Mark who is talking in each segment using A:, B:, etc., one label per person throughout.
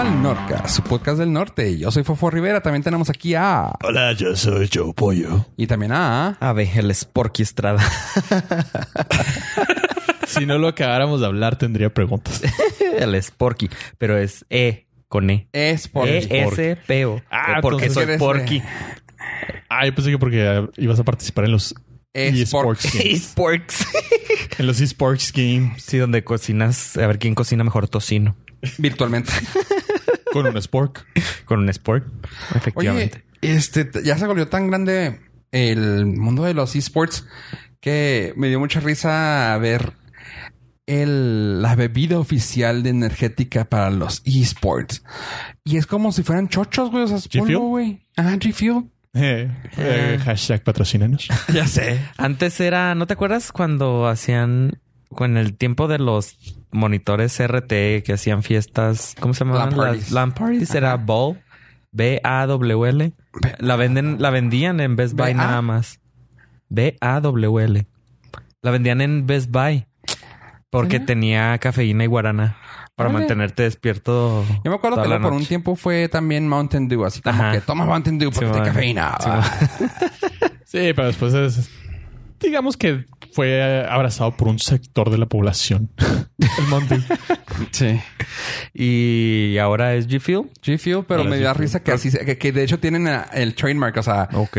A: a su podcast del norte. Yo soy Fofo Rivera. También tenemos aquí a.
B: Hola, yo soy Joe Pollo.
A: Y también a.
C: A ver, el Sporky Estrada.
D: si no lo acabáramos de hablar, tendría preguntas.
C: el Sporky. Pero es E con E.
A: Es por.
C: E-S-P-O.
D: Ah,
C: porque
D: entonces
C: soy
A: eres,
C: Porky.
D: Ah, yo pensé que porque ibas a participar en los
A: Es
D: eSports
A: por-
D: Games.
C: Sporks.
D: En los eSports Games
C: E? sí, donde cocinas. A ver quién cocina mejor tocino.
A: Virtualmente.
D: con un Spork.
C: Con un Spork.
A: Oye,
C: Efectivamente.
A: este t- ya se volvió tan grande el mundo de los esports que me dio mucha risa ver el, la bebida oficial de energética para los esports. Y es como si fueran chochos, güey. O sea, es
D: ¿G Fuel?
A: polvo, güey. Ah, G Fuel.
D: Eh, eh, hashtag patrocínanos.
A: Ya sé.
C: Antes era, ¿no te acuerdas cuando hacían, con el tiempo de los monitores RT que hacían fiestas, ¿cómo se llamaban?
A: Lamp
C: Las
A: parties.
C: lamp parties. Era Ball, B-A-W-L. La venden, la vendían en Best Buy
A: B-A.
C: nada más. B-A-W-L. La vendían en Best Buy porque
A: ¿Sería?
C: tenía cafeína y guarana para
A: Órale.
C: mantenerte despierto.
A: Yo me acuerdo
C: toda
A: que
C: la
A: luego por un
C: noche.
A: tiempo fue también Mountain Dew, así como
C: Ajá.
A: que toma Mountain Dew porque
C: Sí,
A: te
C: man.
A: cafeína.
C: Sí,
A: Ah.
D: Sí, pero después es- digamos que fue abrazado por un sector de la población. El Monte.
A: sí.
C: Y ahora es G Fuel.
A: G Fuel, pero
D: Ahora
A: me
D: G
A: dio
D: Fuel.
A: risa que así se- que, que de hecho tienen ah, el trademark, o sea,
C: Ok.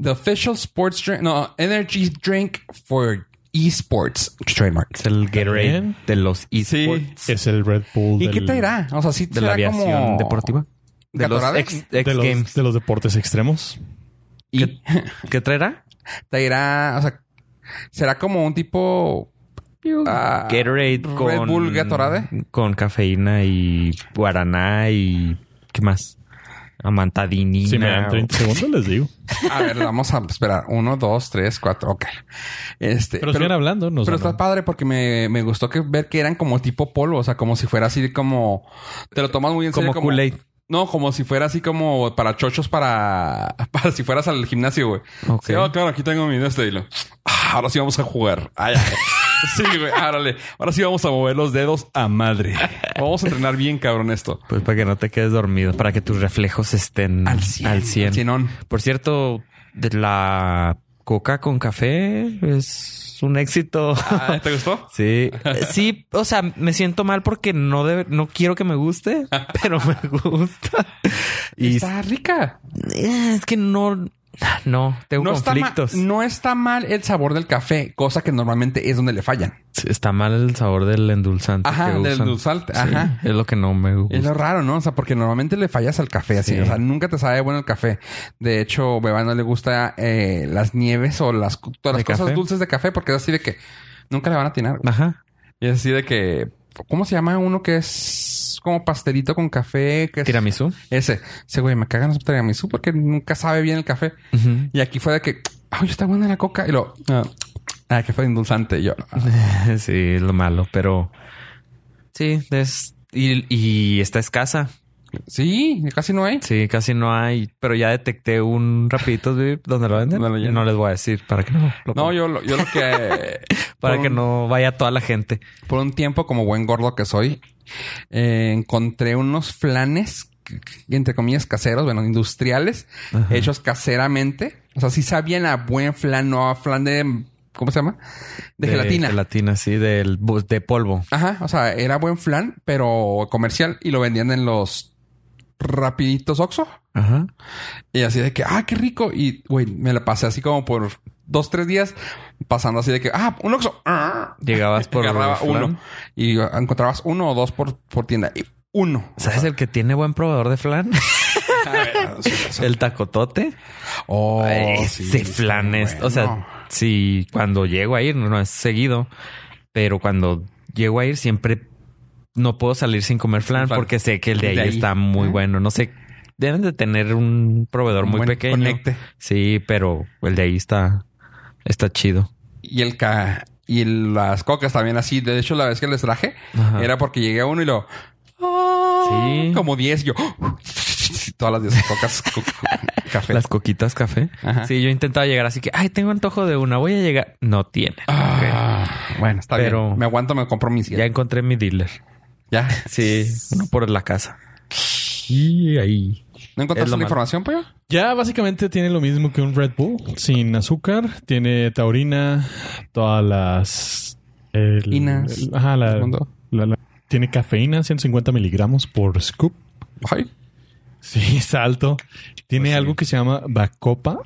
A: The official sports drink, no, energy drink for esports trademark.
C: Es el Gatorade
D: También.
C: de los esports.
D: Es el Red Bull.
A: ¿Y
D: del-
A: qué traerá? O sea, sí
C: de la
A: será como-
C: aviación deportiva. De los
A: ¿Gatorade?
C: ex, ex
D: de los,
C: games.
D: de los deportes extremos.
A: Y
C: ¿Qué traerá?
A: traerá, o sea, será como un tipo ah,
C: Gatorade
A: Red
C: con...
A: Bull Gatorade.
C: Con cafeína y guaraná y... ¿Qué más? Amantadinina.
D: Si me dan 30 segundos, les digo.
A: A ver, vamos a esperar. Uno, dos, tres, cuatro. Ok. Este,
D: Pero, siguen hablando. Nos
A: pero está
D: hablan.
A: padre porque me, me gustó que ver que eran como tipo polvo, o sea, como si fuera así como te lo tomas muy en
C: como
A: serio
C: Kool-Aid.
A: No, como si fuera así como para chochos para, para si fueras al gimnasio, güey.
C: Ok.
A: Sí, oh, claro, aquí tengo mi de este hilo. Ah, ahora sí vamos a jugar. Ay, ay. Sí, güey, árale. Ahora sí vamos a mover los dedos a madre. Vamos a entrenar bien, cabrón, esto.
C: Pues para que no te quedes dormido. Para que tus reflejos estén al 100.
A: Al cienón.
C: Por cierto, de la coca con café es un éxito.
A: Ah, ¿Te gustó?
C: Sí, Eh, sí, o sea, me siento mal porque no debe- no quiero que me guste, pero me gusta. Y
A: Está rica.
C: eh, es que no, no, tengo
A: No está, ma-
C: conflictos.
A: no está mal el sabor del café, cosa que normalmente es donde le fallan.
C: Sí, Está mal el sabor del endulzante.
A: Ajá,
C: que
A: del
C: usan.
A: endulzante,
C: Sí,
A: ajá.
C: Es lo que no me gusta.
A: Es lo raro, ¿no? O sea, porque normalmente le fallas al café así.
C: Sí.
A: O sea, nunca te sabe bueno el café. De hecho, Beba no le gusta eh, las nieves o las, todas las
C: ¿De
A: cosas
C: café?
A: dulces de café porque es así de que nunca le van a atinar. güey.
C: Ajá.
A: Y es así de que... ¿Cómo se llama uno que es como pastelito con café? Que es-
C: Tiramisú.
A: Ese. Ese güey, me cagan los tiramisú porque nunca sabe bien el café.
C: Ujú.
A: Y aquí fue de que... Ay, está buena la coca. Y lo... Ah, ah, que fue endulzante. Y yo... ah,
C: sí, es lo malo, pero sí, es y, y está escasa.
A: sí, casi no hay.
C: Sí, casi no hay, pero ya detecté un rapidito donde lo venden.
A: Donde lo llenan.
C: no les voy a decir para que no. lo
A: No, yo, lo- yo lo que...
C: Para
A: por
C: que
A: un-
C: no vaya toda la gente.
A: Por un tiempo, como buen gordo que soy, eh, encontré unos flanes, que- que- entre comillas, caseros, bueno, industriales, hechos caseramente. O sea, sí sabían a buen flan, no a flan de... ¿Cómo se llama? De, gelatina.
C: Gelatina, sí, del, bu- de polvo.
A: Ajá, o sea, era buen flan, pero comercial y lo vendían en los rapiditos Oxxo.
C: Ajá.
A: Y así de que, ah, qué rico. Y, güey, me la pasé así como por dos, tres días pasando así de que, ah, un Oxxo. Ah.
C: Llegabas por
A: agarraba
C: flan.
A: uno y ah, encontrabas uno o dos por, por tienda. Y uno.
C: ¿Sabes el que tiene buen probador de flan?
A: Ah,
C: el tacotote.
A: Oh,
C: Ese
A: sí,
C: flan
A: sí,
C: es.
A: bueno.
C: O sea, si cuando llego a ir, no, no es seguido, pero cuando llego a ir siempre no puedo salir sin comer flan,
A: flan.
C: porque sé que el de ahí,
A: De ahí.
C: está muy
A: Ajá.
C: bueno. No sé, deben de tener un proveedor
A: Un
C: muy
A: buen
C: pequeño.
A: conecte.
C: Sí, pero el de ahí está, está chido.
A: Y el ca... Y el- las cocas también así. De hecho, la vez que les traje
C: Ajá.
A: era porque llegué a uno y lo... Ah,
C: Sí.
A: Como 10 yo... "Ah", Todas las 10 cocas. co- café.
C: Las coquitas café.
A: Ajá.
C: Sí, yo intentaba llegar así que, ay, tengo antojo de una, voy a llegar. No tiene.
A: Ah, bueno, está
C: Pero-
A: bien. Me aguanto, me compro mis
C: Ya encontré mi dealer.
A: ya.
C: Sí, uno por la casa. aquí, ahí.
A: ¿No
C: Es
A: encontraste
C: lo
A: la
C: malo.
A: información, pollo?
D: Ya básicamente tiene lo mismo que un Red Bull sin azúcar, tiene taurina, todas las el-
A: Inas.
D: el- ajá, la-
A: Del mundo.
D: la- la- tiene cafeína, 150 miligramos por scoop.
A: Ay,
D: Sí, está alto. Tiene algo que se llama Bacopa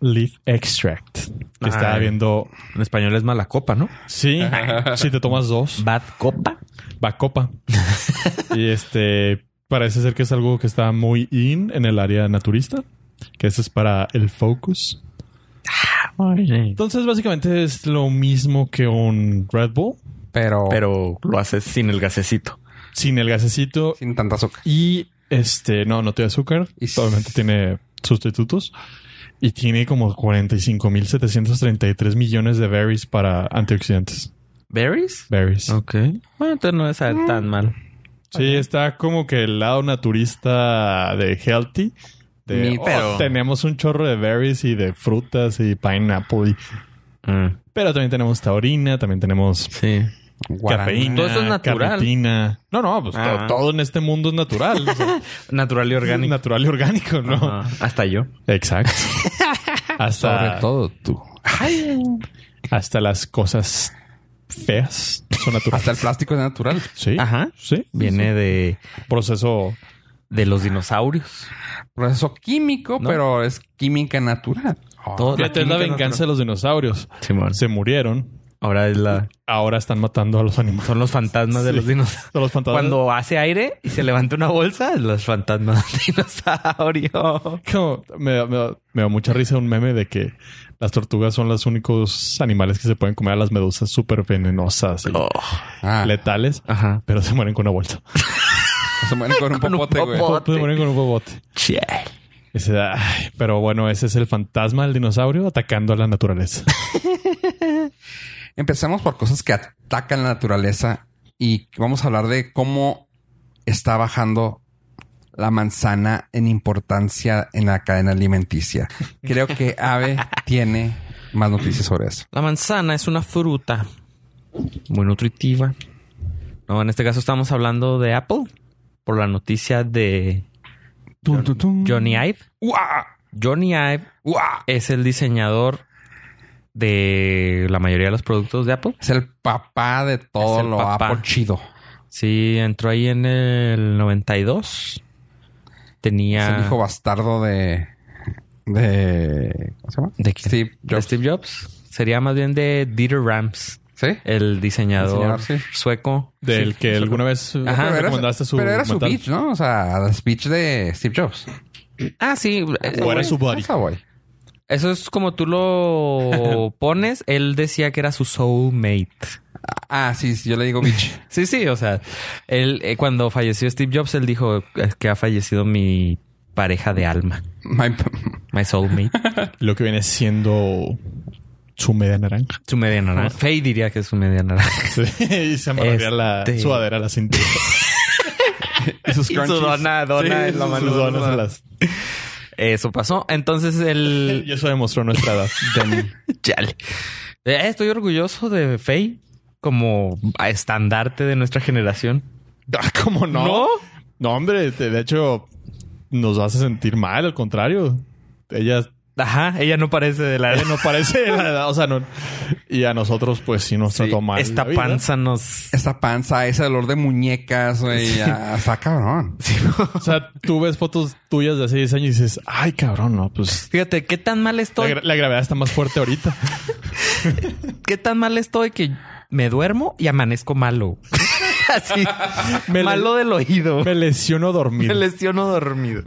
D: Leaf Extract. Que
C: Ah.
D: estaba viendo.
C: En español es mala copa, ¿no?
D: Sí, si te tomas dos,
C: Bad copa.
D: Bacopa. y este parece ser que es algo que está muy in en el área naturista. Que eso es para el focus. Entonces, básicamente es lo mismo que un Red Bull
A: pero,
C: Pero lo haces sin el gasecito.
D: sin el gasecito
A: sin tanta azúcar.
D: y este, no, no tiene azúcar.
A: Y-
D: Obviamente tiene sustitutos y tiene como 45.733 millones de berries para antioxidantes.
C: ¿Berries?
D: Berries.
C: Ok. Bueno, entonces no es tan mal.
D: Sí, está como que el lado naturista de healthy. De,
A: Ni-
D: "Oh,
C: pero-
D: tenemos un chorro de berries y de frutas y pineapple. y-
C: Mm,
D: pero también tenemos taurina, también tenemos
C: sí.
A: Guaraná.
D: cafeína,
C: Todo eso es natural.
D: carnitina. No, no, pues to-
C: Ah.
D: todo, en este mundo es natural. o sea,
C: Natural y orgánico.
D: natural y orgánico, ¿no?
C: Ajá. Hasta yo.
D: Exacto. hasta,
A: Sobre todo tú.
D: hasta las cosas feas son naturales.
A: Hasta el plástico es natural.
D: Sí.
C: Ajá.
D: Sí.
C: Viene de,
D: Proceso.
C: de los dinosaurios.
A: Proceso químico,
C: No.
A: pero es química natural. Oh.
C: Todo- La
D: Esta es la
C: química
D: venganza de los dinosaurios.
C: Simón.
D: Se murieron.
C: Ahora es la.
D: Ahora están matando a los animales.
C: Son los fantasmas de
D: Sí.
C: los dinosaurios.
D: A los fantasmas.
C: Cuando hace aire y se levanta una bolsa, los fantasmas del dinosaurio.
D: Como- me, da- me da- me da mucha risa un meme de que las tortugas son los únicos animales que se pueden comer a las medusas súper venenosas
C: Oh.
D: y
A: Ah,
D: letales,
C: Ajá.
D: pero se mueren con una bolsa.
A: se mueren con un
C: Con un
A: popote, güey.
C: popote.
D: Se mueren con un bobote.
C: Che.
D: Ese da- ay, pero bueno, ese es el fantasma del dinosaurio atacando a la naturaleza.
A: Empezamos por cosas que atacan la naturaleza y vamos a hablar de cómo está bajando la manzana en importancia en la cadena alimenticia. Creo que Ave tiene más noticias sobre eso.
C: La manzana es una fruta muy nutritiva. No, en este caso estamos hablando de Apple por la noticia de Johnny Ive.
A: ¡Uah!
C: Johnny Ive
A: ¡Uah!
C: es el diseñador de la mayoría de los productos de Apple.
A: Es el papá de todo
C: Es el
A: lo
C: papá.
A: Apple chido.
C: Sí, entró ahí en el 92.
A: Es
C: Tenía
A: el hijo bastardo de... de ¿Cómo se llama?
C: ¿De quién?
A: Steve
C: de
A: Jobs.
C: Steve Jobs. Sería más bien de Dieter Rams,
A: ¿Sí?
C: el diseñador
A: El señor, sí.
C: sueco.
D: Del que alguna vez eh,
C: Ajá,
A: pero era,
D: recomendaste
A: su,
D: su
A: pero era su
D: documental.
A: bitch, ¿no? O sea, la speech de Steve Jobs.
C: Ah, sí. eh,
D: O era su buddy.
A: Esa, güey.
C: Eso es como tú lo pones. Él decía que era su soulmate.
A: Ah, sí, sí, yo le digo bitch.
C: Sí, sí. O sea, él eh, cuando falleció Steve Jobs, él dijo "Es que ha fallecido mi pareja de alma,
A: My-
C: my soulmate.
D: Lo que viene siendo su media naranja.
C: su media naranja. Faye diría que es su media naranja.
D: Sí, y se amarraría la
C: Este-
D: sudadera a la cintura. y sus
C: Y su
D: crunchies.
C: dona- dona
D: Sí,
C: en la
D: sus-
C: mano.
D: sus donas en las-
C: Eso pasó. Entonces él.
D: Y eso demostró nuestra edad.
C: Chale. Eh, estoy orgulloso de Faye como estandarte de nuestra generación.
D: Ah, ¿Cómo no?
C: ¿No?
D: no? hombre. te- De hecho, nos hace sentir mal. Al contrario. Ella,
C: Ajá, ella no parece de la
D: ella Eh, no parece de la edad. O sea, no. Y a nosotros, pues, sí nos trató mal.
C: Esta
D: la vida.
C: panza nos.
A: Esa panza, ese dolor de muñecas, güey. ya, Está cabrón.
D: O sea, tú ves fotos tuyas de hace 10 años y dices, ay, cabrón, no, pues...
C: Fíjate, qué tan mal
D: La,
C: estoy.
D: gra- la gravedad está más fuerte ahorita.
C: Qué tan mal estoy que me duermo y amanezco malo. Así.
D: Me le-
C: malo del oído.
D: Me lesiono
C: Me
D: dormir.
C: lesiono dormido.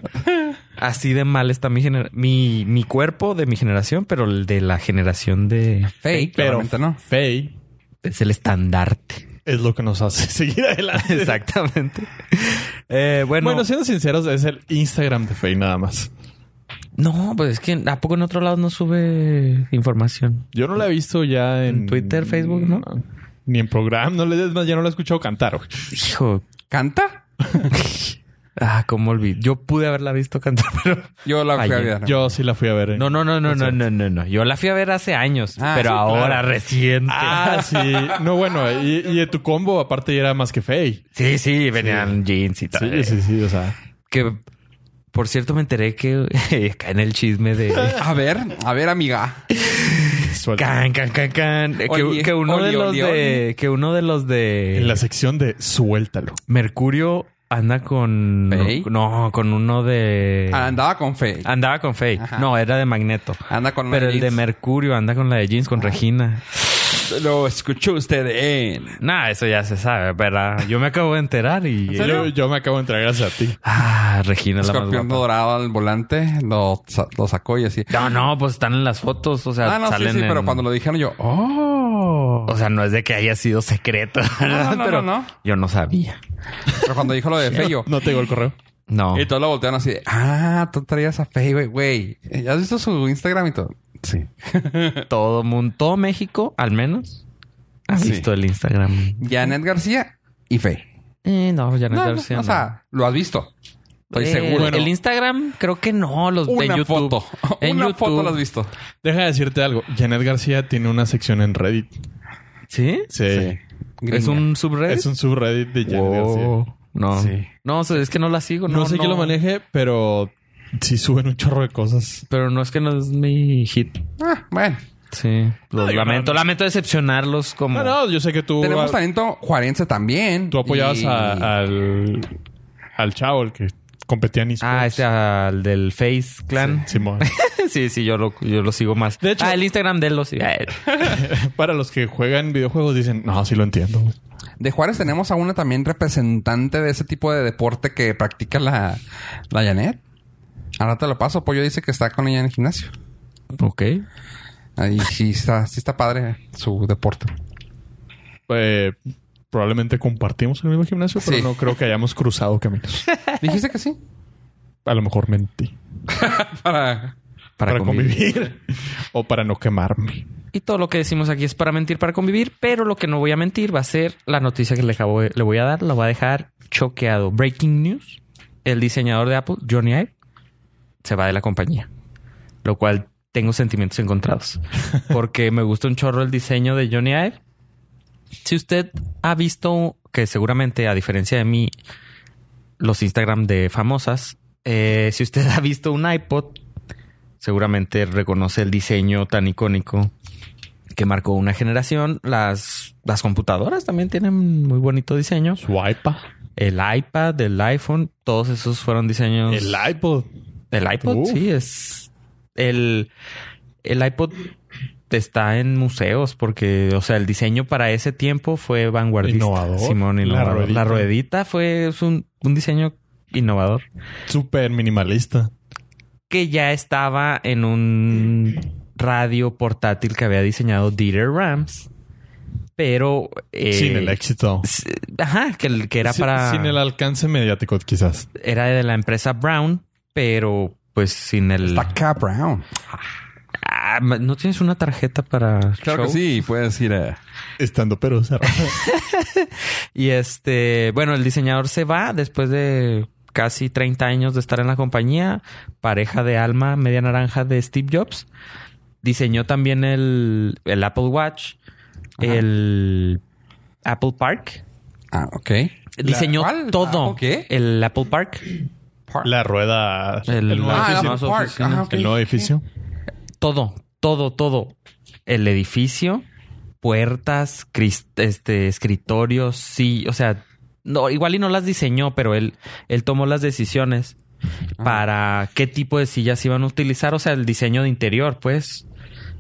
C: Así de mal está mi, gener- mi mi cuerpo de mi generación, pero el de la generación de
A: Fake,
D: Pero
A: claramente no.
D: Faye
C: es el estandarte.
D: es lo que nos hace seguir adelante.
C: Exactamente. Eh, bueno,
D: Bueno, siendo sinceros, es el Instagram de Faye nada más.
C: no, pues es que a poco en otro lado no sube información.
D: Yo no la he visto ya en...
C: En Twitter, Facebook, ¿no?
D: Ni en programa. No le es más, ya no la he escuchado cantar. güey.
C: Hijo,
A: ¿Canta?
C: ah, cómo olvidé. Yo pude haberla visto cantar, pero
A: Yo la fui a
C: Ayer.
A: ver.
D: Yo sí la fui a ver. en-
C: no, no, no, no, no, no, no, no. Yo la fui a ver hace años,
A: Ah,
C: pero
A: sí,
C: ahora reciente.
D: Ah, sí. No, bueno. Y, y de tu combo, aparte, era más que Faye.
C: Sí, sí, venían jeans y
D: Sí,
C: tal.
D: sí, sí. O sea...
C: Que por cierto me enteré que acá en el chisme de
A: A ver, a ver, amiga.
D: Suelta.
C: can can can can que,
A: Oye,
C: que uno de
A: oye,
C: los
A: oye,
C: de que uno de los de
D: En la sección de suéltalo.
C: Mercurio anda con
A: ¿Fey?
C: no con uno de
A: Andaba con fe.
C: andaba con Faye.
A: Ajá.
C: No, era de Magneto.
A: Anda con Ah. una
C: Ah, Pero el de
A: jeans.
C: Mercurio anda con la de jeans con Regina.
A: Lo escuchó usted en.
C: Nah, eso ya se sabe, ¿verdad? Yo me acabo de enterar y.
D: Yo, yo me acabo de entrar gracias a ti.
C: Ah, Regina es la más
A: Escorpión
C: guapa.
A: dorado al volante. Lo, sa- lo sacó y así.
C: No, no, pues están en las fotos. O sea,
A: Ah, no, sí,
C: salen
A: sí, pero
C: en-
A: cuando lo dijeron yo, oh.
C: O sea, no es de que haya sido secreto.
A: no,
C: ¿verdad?
A: no,
C: pero
A: no.
C: Yo no sabía.
A: Pero cuando dijo lo de Feyo.
D: No te digo el correo.
C: No.
A: Y todos lo voltearon así. de, Ah, tú traías a Fey, güey, güey. Eh, ¿Has visto su Instagram y todo? Sí.
C: Todo mundo, todo México, al menos, ha
A: Sí.
C: visto el Instagram.
A: Janet García y Fey.
C: Eh, no, ya no,
A: No,
C: es
A: no,
C: García,
A: o sea, lo has visto. Estoy
C: Eh,
A: seguro.
C: El Instagram, creo que no. Los de
A: Una
C: YouTube.
A: foto.
C: En
A: Una
C: YouTube.
A: foto lo has visto.
D: Deja de decirte algo. Janet García tiene una sección en Reddit.
C: ¿Sí?
D: Sí.
C: ¿Es
A: Gringa.
C: un subreddit?
D: Es un subreddit de Janet García.
C: Wow. No.
A: Sí.
C: No, o sea, es que no la sigo.
D: No,
C: No,
D: sé quién lo maneje, pero sí suben un chorro de cosas.
C: Pero no es que no es mi hit.
A: Ah, bueno.
C: Sí. Lo
D: yo
C: lamento, lamento decepcionarlos como.
D: No, no, yo sé que tú,
A: Tenemos talento juarense también.
D: tú apoyabas
A: Y-
D: a- al, al chavo, el que competía en esports.
C: Ah, este al del Face Clan.
D: Simón.
C: Sí, sí, yo, lo, yo lo sigo más.
D: De hecho-
C: ah, el Instagram de él lo sigo. Eh,
D: Para los que juegan videojuegos dicen, no, sí lo entiendo. güey".
A: De Juárez tenemos a una también representante de ese tipo de deporte que practica la, la Janet. Ahora te lo paso. Pollo dice que está con ella en el gimnasio.
C: Ok.
A: Ahí sí está, sí está padre su deporte.
D: Eh, probablemente compartimos el mismo gimnasio, pero
A: Sí.
D: no creo que hayamos cruzado caminos.
A: Dijiste que sí.
D: A lo mejor mentí.
A: Para.
D: Para, convivir. o para no quemarme.
C: Y todo lo que decimos aquí es para mentir, para convivir, pero lo que no voy a mentir va a ser la noticia que le, acabo- le voy a dar, la voy a dejar choqueado. Breaking news, el diseñador de Apple, Johnny Ive, se va de la compañía, lo cual tengo sentimientos encontrados, porque me gusta un chorro el diseño de Johnny Ive. Si usted ha visto, que seguramente a diferencia de mí, los Instagram de famosas, eh, si usted ha visto un iPod, seguramente reconoce el diseño tan icónico que marcó una generación. Las, las computadoras también tienen muy bonito diseño.
D: Swipa.
C: El iPad, el iPhone, todos esos fueron diseños.
D: El iPod.
C: El iPod,
D: Uf.
C: sí, es. El, el iPod está en museos porque, o sea, el diseño para ese tiempo fue vanguardista.
D: Innovador.
C: Simón,
D: La
C: innovador. La ruedita,
D: ruedita.
C: fue es un, un diseño innovador
D: Súper minimalista.
C: que ya estaba en un radio portátil que había diseñado Dieter Rams, pero. eh,
D: sin el éxito.
C: s- Ajá, que, el- que era
D: Sin-
C: para.
D: Sin el alcance mediático, quizás.
C: Era de la empresa Brown, pero pues sin el.
A: Está Cap Brown.
C: Ah, ma- ¿No tienes una tarjeta para
A: Claro
C: show?
A: que sí, puedes ir a.
D: Estando pero cerrado.
C: Y este, bueno, el diseñador se va después de casi 30 años de estar en la compañía, pareja de alma media naranja de Steve Jobs. Diseñó también el, el Apple Watch,
A: Ajá.
C: el Apple Park.
A: Ah, ok.
C: Diseñó
A: cuál? Ah,
C: todo.
A: ¿Apple qué?
C: El Apple Park.
A: Park.
D: La rueda.
C: El-
D: El, nuevo
A: Ah,
D: edificio.
A: el Apple Park.
C: oficinas.
A: Ajá, ok.
D: El nuevo edificio.
C: Todo, todo, todo. El edificio, puertas, cris- este, escritorios, sí, o sea, no, igual y no las diseñó, pero él, él tomó las decisiones para qué tipo de sillas iban a utilizar, o sea, el diseño de interior, pues.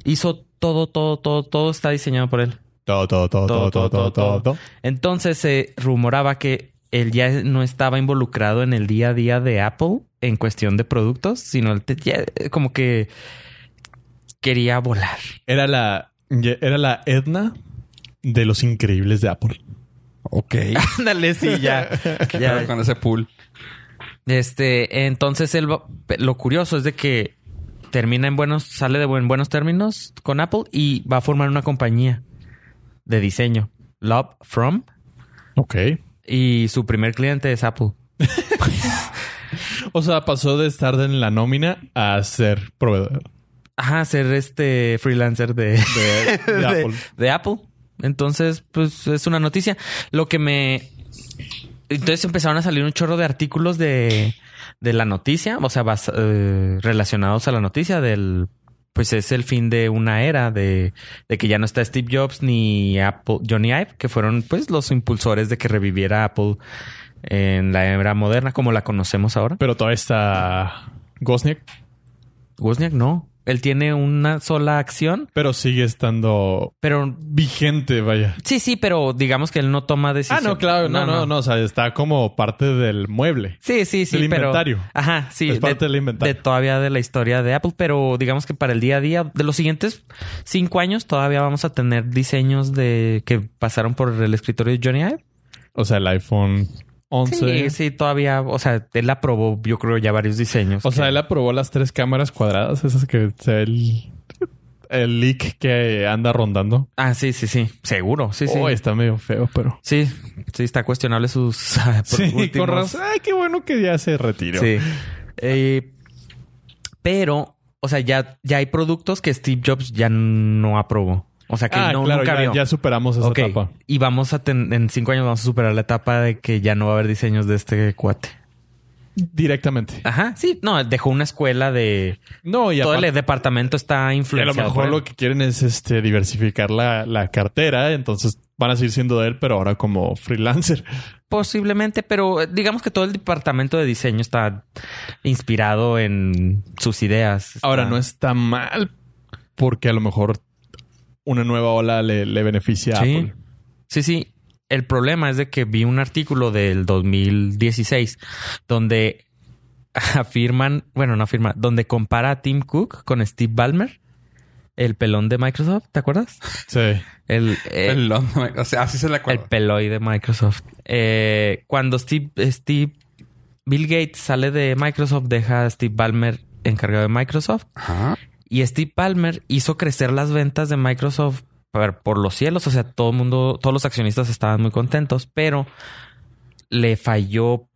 C: Hizo todo, todo, todo, todo está diseñado por él.
D: Todo, todo, todo, todo, todo, todo, todo, todo.
C: Entonces se rumoraba que él ya no estaba involucrado en el día a día de Apple en cuestión de productos, sino él te- ya, eh, como que quería volar.
D: Era la, era la Edna de los increíbles de Apple.
A: Ok.
C: Ándale, sí, ya.
A: Claro,
C: ya.
A: con ese pool.
C: Este, entonces él va- lo curioso es de que termina en buenos, sale de buen, buenos términos con Apple y va a formar una compañía de diseño, Love From,
D: Ok.
C: y su primer cliente es Apple.
D: O sea, pasó de estar en la nómina a ser proveedor
C: Ajá, ser este freelancer de,
D: de, de
C: de,
D: Apple.
C: de Apple. Entonces, pues es una noticia. Lo que me. Entonces empezaron a salir un chorro de artículos de de la noticia, o sea, bas- eh, relacionados a la noticia del, pues es el fin de una era de, de que ya no está Steve Jobs ni Apple, Johnny Ive, que fueron pues los impulsores de que reviviera Apple en la era moderna como la conocemos ahora.
D: Pero todavía está Gosniak,
C: Wozniak no, él tiene una sola acción,
D: pero sigue estando
C: pero
D: vigente, vaya.
C: sí, sí, pero digamos que él no toma
D: ah,
C: decisiones.
D: no, claro, no, no, no, O sea, está como parte del mueble.
C: Sí, sí, sí.
D: Del
C: pero-
D: inventario.
C: Ajá, sí.
D: Es parte del inventario.
C: de todavía de la historia de Apple, pero digamos que para el día a día, de los siguientes cinco años, todavía vamos a tener diseños de que pasaron por el escritorio de Johnny Ive.
D: O sea, el iPhone 11.
C: Sí, sí, todavía, o sea, él aprobó, yo creo, ya varios diseños.
D: O sea,
C: pues que-
D: él aprobó las tres cámaras cuadradas, esas que se ve el, el leak que anda rondando.
C: Ah, sí, sí, sí. Seguro, sí, sí.
D: Oh, está medio feo, pero.
C: Sí, sí, está cuestionable sus...
D: Sí,
C: últimos-
D: con razón. Ay, qué bueno que ya se retiró.
C: Sí. Eh, pero, o sea, ya, ya hay productos que Steve Jobs ya no aprobó. O sea, que
D: Ah,
C: no,
D: claro,
C: nunca
D: ya,
C: vio.
D: ya superamos esa
C: Ok.
D: etapa.
C: Y vamos a ten- en cinco años vamos a superar la etapa de que ya no va a haber diseños de este cuate.
D: Directamente.
C: Ajá, sí. No, dejó una escuela de...
D: No, y
C: Ah, Todo
D: aparte-
C: el departamento está
D: y a
C: influenciado.
D: lo mejor lo que quieren es este diversificar la, la cartera, entonces van a seguir siendo de él, pero ahora como freelancer.
C: Posiblemente, pero eh, digamos que todo el departamento de diseño está inspirado en sus ideas. Está-
D: Ahora no está mal, porque a lo mejor una nueva ola le, le beneficia a
C: Sí.
D: Apple.
C: Sí, sí. El problema es de que vi un artículo del 2016 donde afirman, bueno, no afirman, donde compara a Tim Cook con Steve Ballmer, el pelón de Microsoft, ¿te acuerdas?
D: Sí.
C: El, eh, el,
A: Pelón, o sea, así se le acuerda.
C: peloy de Microsoft. Eh, cuando Steve, Steve, Bill Gates sale de Microsoft, deja a Steve Ballmer encargado de Microsoft
A: Ajá.
C: y Steve Palmer hizo crecer las ventas de Microsoft por, por los cielos. O sea, todo el mundo, todos los accionistas estaban muy contentos, pero le falló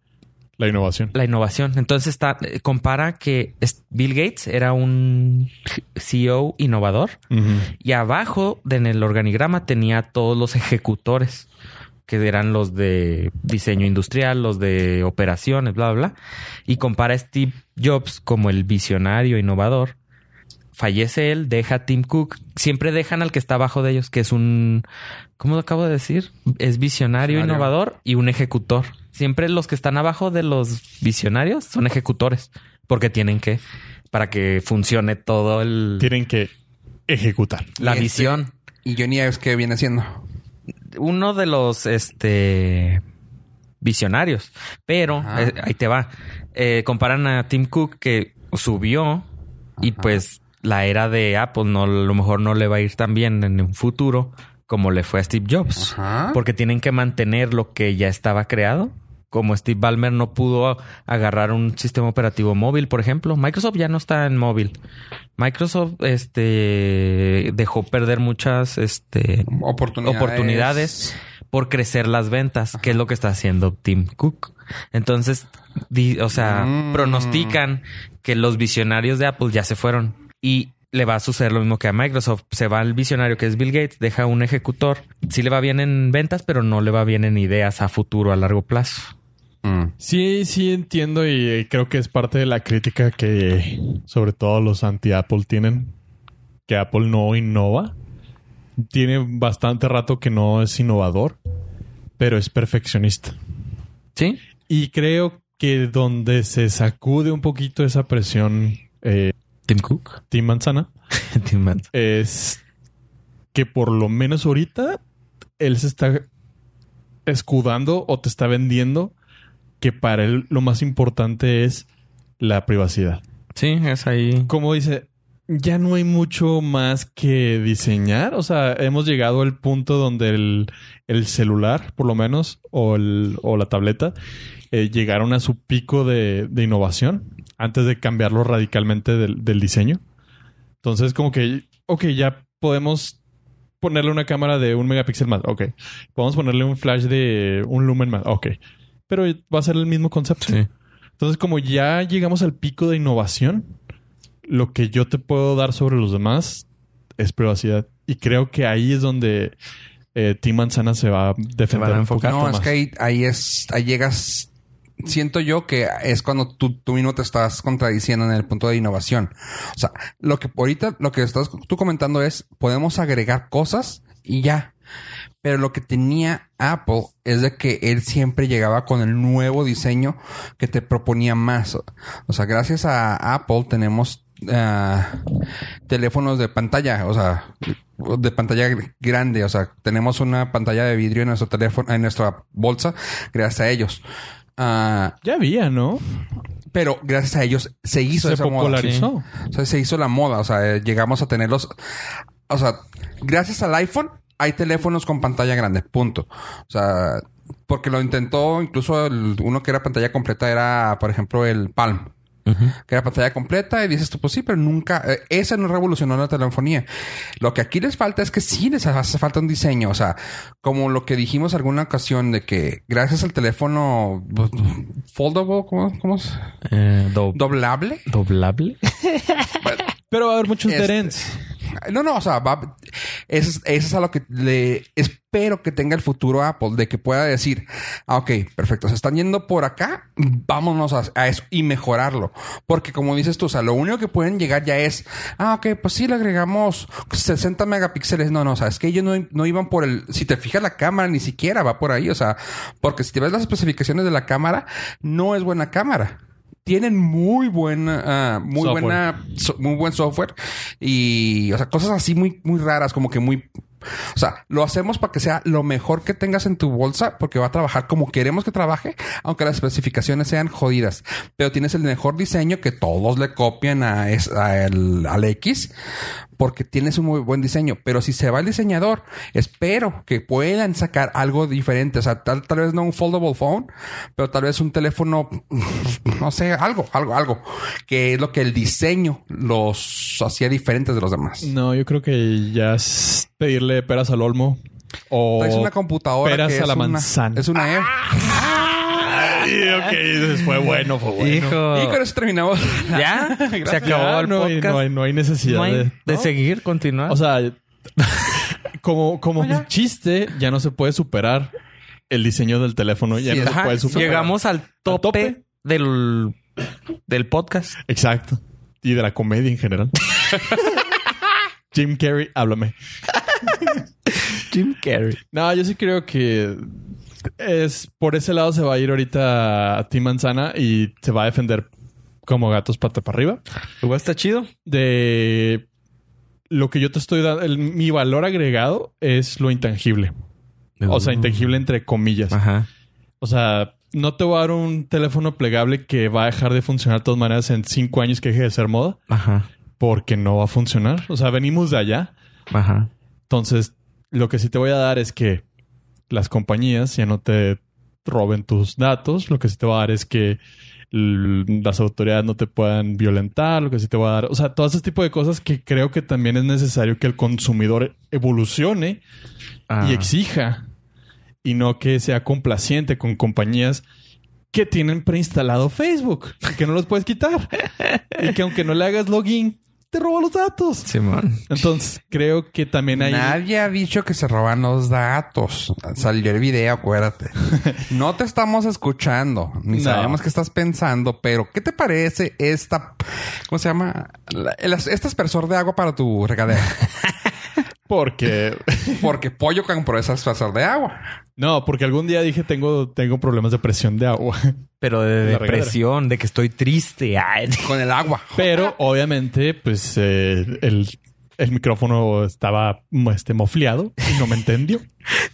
D: La innovación.
C: la innovación. Entonces está, eh, compara que es- Bill Gates era un CEO innovador
D: Ujú.
C: y abajo de- en el organigrama tenía a todos los ejecutores, que eran los de diseño industrial, los de operaciones, bla, bla, bla. Y compara a Steve Jobs como el visionario innovador. Fallece él, deja a Tim Cook. Siempre dejan al que está abajo de ellos, que es un... ¿Cómo lo acabo de decir? Es visionario,
A: Visionario.
C: innovador y un ejecutor. Siempre los que están abajo de los visionarios son ejecutores, porque tienen que... Para que funcione todo el...
D: Tienen que ejecutar.
C: la
A: Y este-
C: visión.
A: Y Johnny Ives, ¿qué viene haciendo?
C: uno de los este visionarios. Pero
A: Ajá.
C: eh, ahí te va. Eh, comparan a Tim Cook que subió y
A: Ajá.
C: pues la era de Apple no, a lo mejor no le va a ir tan bien en un futuro como le fue a Steve Jobs.
A: Ajá.
C: Porque tienen que mantener lo que ya estaba creado. Como Steve Ballmer no pudo agarrar un sistema operativo móvil, por ejemplo. Microsoft ya no está en móvil. Microsoft este, dejó perder muchas este,
A: Oportunidades.
C: oportunidades por crecer las ventas, que es lo que está haciendo Tim Cook. Entonces, di- o sea,
A: Mm.
C: pronostican que los visionarios de Apple ya se fueron y le va a suceder lo mismo que a Microsoft. Se va el visionario que es Bill Gates, deja un ejecutor. Sí le va bien en ventas, pero no le va bien en ideas a futuro, a largo plazo.
A: Mm.
D: Sí, sí entiendo y eh, creo que es parte de la crítica que sobre todo los anti-Apple tienen, que Apple no innova. Tiene bastante rato que no es innovador, pero es perfeccionista.
C: Sí,
D: Y creo que donde se sacude un poquito esa presión eh,
C: Tim Cook.
D: Team Manzana
C: Tim Mann.
D: es que por lo menos ahorita él se está escudando o te está vendiendo que para él lo más importante es la privacidad.
C: Sí, es ahí.
D: Como dice, ya no hay mucho más que diseñar. O sea, hemos llegado al punto donde el, el celular, por lo menos, o, el- o la tableta, eh, llegaron a su pico de, de innovación antes de cambiarlo radicalmente del, del diseño. Entonces, como que, ok, ya podemos ponerle una cámara de un megapíxel más. Ok. Podemos ponerle un flash de un lumen más. Ok. Pero va a ser el mismo concepto.
C: Sí.
D: Entonces, como ya llegamos al pico de innovación, lo que yo te puedo dar sobre los demás es privacidad. Y creo que ahí es donde eh, Team Manzana se va a defender
C: van a
D: un
C: enfocar.
D: poquito
A: No, es
D: más.
A: que ahí, ahí es, ahí llegas siento yo que es cuando tú, tú mismo te estás contradiciendo en el punto de innovación. O sea, lo que ahorita, lo que estás tú comentando es, podemos agregar cosas y ya. Pero lo que tenía Apple es de que él siempre llegaba con el nuevo diseño que te proponía más. O sea, gracias a Apple tenemos ah, teléfonos de pantalla, o sea, de pantalla gr- grande. O sea, tenemos una pantalla de vidrio en nuestro teléfono, en nuestra bolsa, gracias a ellos. Ah,
D: Ya había, ¿no?
A: pero gracias a ellos se hizo
D: Se
A: esa moda.
D: popularizó.
A: O sea, se hizo la moda. O sea, eh, llegamos a tenerlos. O sea, gracias al iPhone hay teléfonos con pantalla grande. Punto. O sea, porque lo intentó incluso el- uno que era pantalla completa era, por ejemplo, el Palm. Que era pantalla completa y dices tú, pues sí, pero nunca... eh, esa no revolucionó la telefonía. Lo que aquí les falta es que sí les hace falta un diseño. O sea, como lo que dijimos alguna ocasión de que gracias al teléfono pues, foldable, ¿cómo, cómo es?
C: Eh, do-
A: ¿Doblable?
C: ¿Doblable?
D: Pero va a haber muchos
A: Este-
D: Derents.
A: No, no, o sea, va, eso, es- eso es a lo que le espero que tenga el futuro Apple, de que pueda decir, ah, ok, perfecto, se están yendo por acá, vámonos a, a eso y mejorarlo. Porque como dices tú, o sea, lo único que pueden llegar ya es, ah, ok, pues sí, le agregamos 60 megapíxeles. No, no, o sea, es que ellos no, no iban por el, si te fijas la cámara, ni siquiera va por ahí, o sea, porque si te ves las especificaciones de la cámara, no es buena cámara. Tienen muy buena, ah, muy
D: Software.
A: buena so- muy buen software y, o sea, cosas así muy, muy raras, como que muy. O sea, lo hacemos para que sea lo mejor que tengas en tu bolsa porque va a trabajar como queremos que trabaje, aunque las especificaciones sean jodidas. Pero tienes el mejor diseño que todos le copian a, es- a el- al X porque tienes un muy buen diseño. Pero si se va el diseñador, espero que puedan sacar algo diferente. O sea, tal, tal vez no un foldable phone, pero tal vez un teléfono, no sé, algo, algo, algo. Que es lo que el diseño los hacía diferentes de los demás.
D: No, yo creo que ya es pedirle peras al olmo. O
A: Es una computadora
D: peras
A: que
D: a
A: es
D: la
A: una-
D: manzana.
A: Es una E.
D: Ay, ok, fue bueno, fue bueno.
C: Hijo.
A: Y con eso terminamos.
C: ¿Ya? Se acabó
D: Ya,
C: el
D: no, hay-
C: podcast.
D: no hay, no hay necesidad
C: No hay-
D: de,
C: de
D: ¿no?
C: seguir, continuar.
D: O sea, como, como un chiste, ya no se puede superar el diseño del teléfono. Ya
A: Sí,
D: no
A: ajá,
D: se puede superar.
C: Llegamos al tope,
D: tope?
C: Del, del podcast.
D: Exacto. Y de la comedia en general. Jim Carrey, háblame.
C: Jim Carrey.
D: No, yo sí creo que es por ese lado se va a ir ahorita a Tim Manzana y se va a defender como gatos pata para arriba.
C: Igual está chido.
D: De lo que yo te estoy dando, el- mi valor agregado es lo intangible. O sea, intangible entre comillas.
C: Ajá.
D: O sea, no te voy a dar un teléfono plegable que va a dejar de funcionar de todas maneras en cinco años que deje de ser moda,
C: Ajá.
D: porque no va a funcionar. O sea, venimos de allá.
C: Ajá.
D: Entonces, lo que sí te voy a dar es que las compañías ya no te roben tus datos. Lo que sí te va a dar es que l- las autoridades no te puedan violentar. Lo que sí te va a dar. O sea, todo ese tipo de cosas que creo que también es necesario que el consumidor evolucione
C: Ah.
D: y exija. Y no que sea complaciente con compañías que tienen preinstalado Facebook y que no los puedes quitar. y que aunque no le hagas login, te roba los datos.
C: Simón.
D: Entonces, creo que también hay...
A: Nadie ha dicho que se roban los datos. Salió el video, acuérdate. No te estamos escuchando, ni
D: No.
A: sabemos qué estás pensando, pero ¿qué te parece esta, ¿cómo se llama? La- el- este aspersor de agua para tu regadera.
D: Porque...
A: Porque Pollo compró ese aspersor de agua.
D: No, porque algún día dije tengo, tengo problemas de presión de agua.
C: Pero de
D: La regadera.
C: depresión, de que estoy triste. Ay.
A: Con el agua.
D: Pero obviamente, pues eh, el, el micrófono estaba mm, este, mofleado y no me entendió.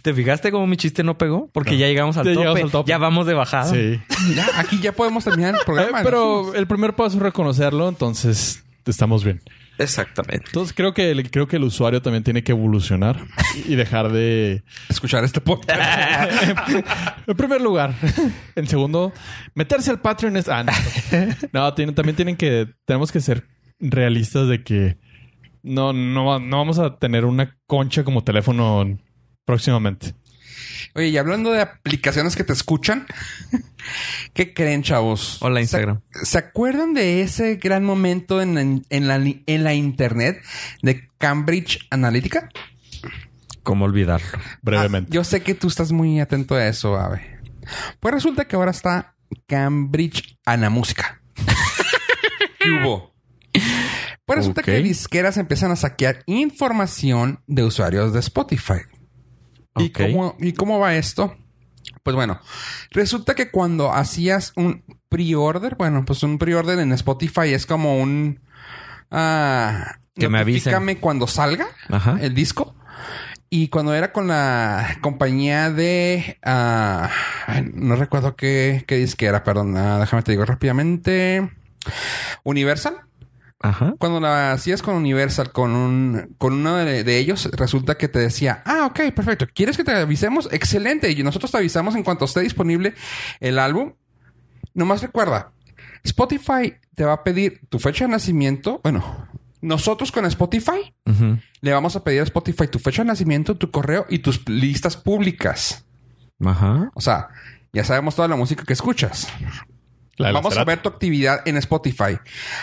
C: ¿Te fijaste cómo mi chiste no pegó? Porque ya llegamos al,
D: Ya
C: tope.
D: llegamos al tope.
C: Ya vamos de bajada.
D: Sí.
A: Ya, aquí ya podemos terminar el
D: Eh,
A: programa.
D: pero el primer paso es reconocerlo, entonces estamos bien.
C: Exactamente.
D: Entonces creo que el, creo que el usuario también tiene que evolucionar y dejar de
A: Escuchar este podcast.
D: en primer lugar, en segundo, meterse al Patreon es ah, no. No, tienen- también tienen que tenemos que ser realistas de que no no no vamos a tener una concha como teléfono próximamente.
A: Oye, y hablando de aplicaciones que te escuchan, ¿qué creen, chavos?
C: Hola, Instagram.
A: ¿Se, se acuerdan de ese gran momento en, en- en la, li- en la internet de Cambridge Analytica?
C: ¿Cómo olvidarlo?
D: Brevemente.
A: Ah, yo sé que tú estás muy atento a eso, Ave. Pues resulta que ahora está Cambridge Anamúsica. ¿Qué hubo? Pues resulta
C: Ok.
A: que disqueras empiezan a saquear información de usuarios de Spotify. ¿Y,
C: Ok.
A: cómo, ¿Y cómo va esto? Pues bueno, resulta que cuando hacías un pre-order, bueno, pues un pre-order en Spotify es como un... ah,
C: Que me avisen.
A: notifícame cuando salga
C: Ajá.
A: el disco. Y cuando era con la compañía de... ah, ay, no recuerdo qué, qué disque era, perdón. ah, déjame te digo rápidamente. Universal.
C: Ajá.
A: Cuando la hacías con Universal, con un, con uno de, de ellos, resulta que te decía, ah, ok, perfecto. ¿Quieres que te avisemos? Excelente. Y nosotros te avisamos en cuanto esté disponible el álbum. Nomás recuerda, Spotify te va a pedir tu fecha de nacimiento. Bueno, nosotros con Spotify
C: Ujú.
A: le vamos a pedir a Spotify tu fecha de nacimiento, tu correo y tus listas públicas.
C: Ajá.
A: O sea, ya sabemos toda la música que escuchas.
D: La de la
A: Vamos a
D: cerata.
A: ver tu actividad en Spotify.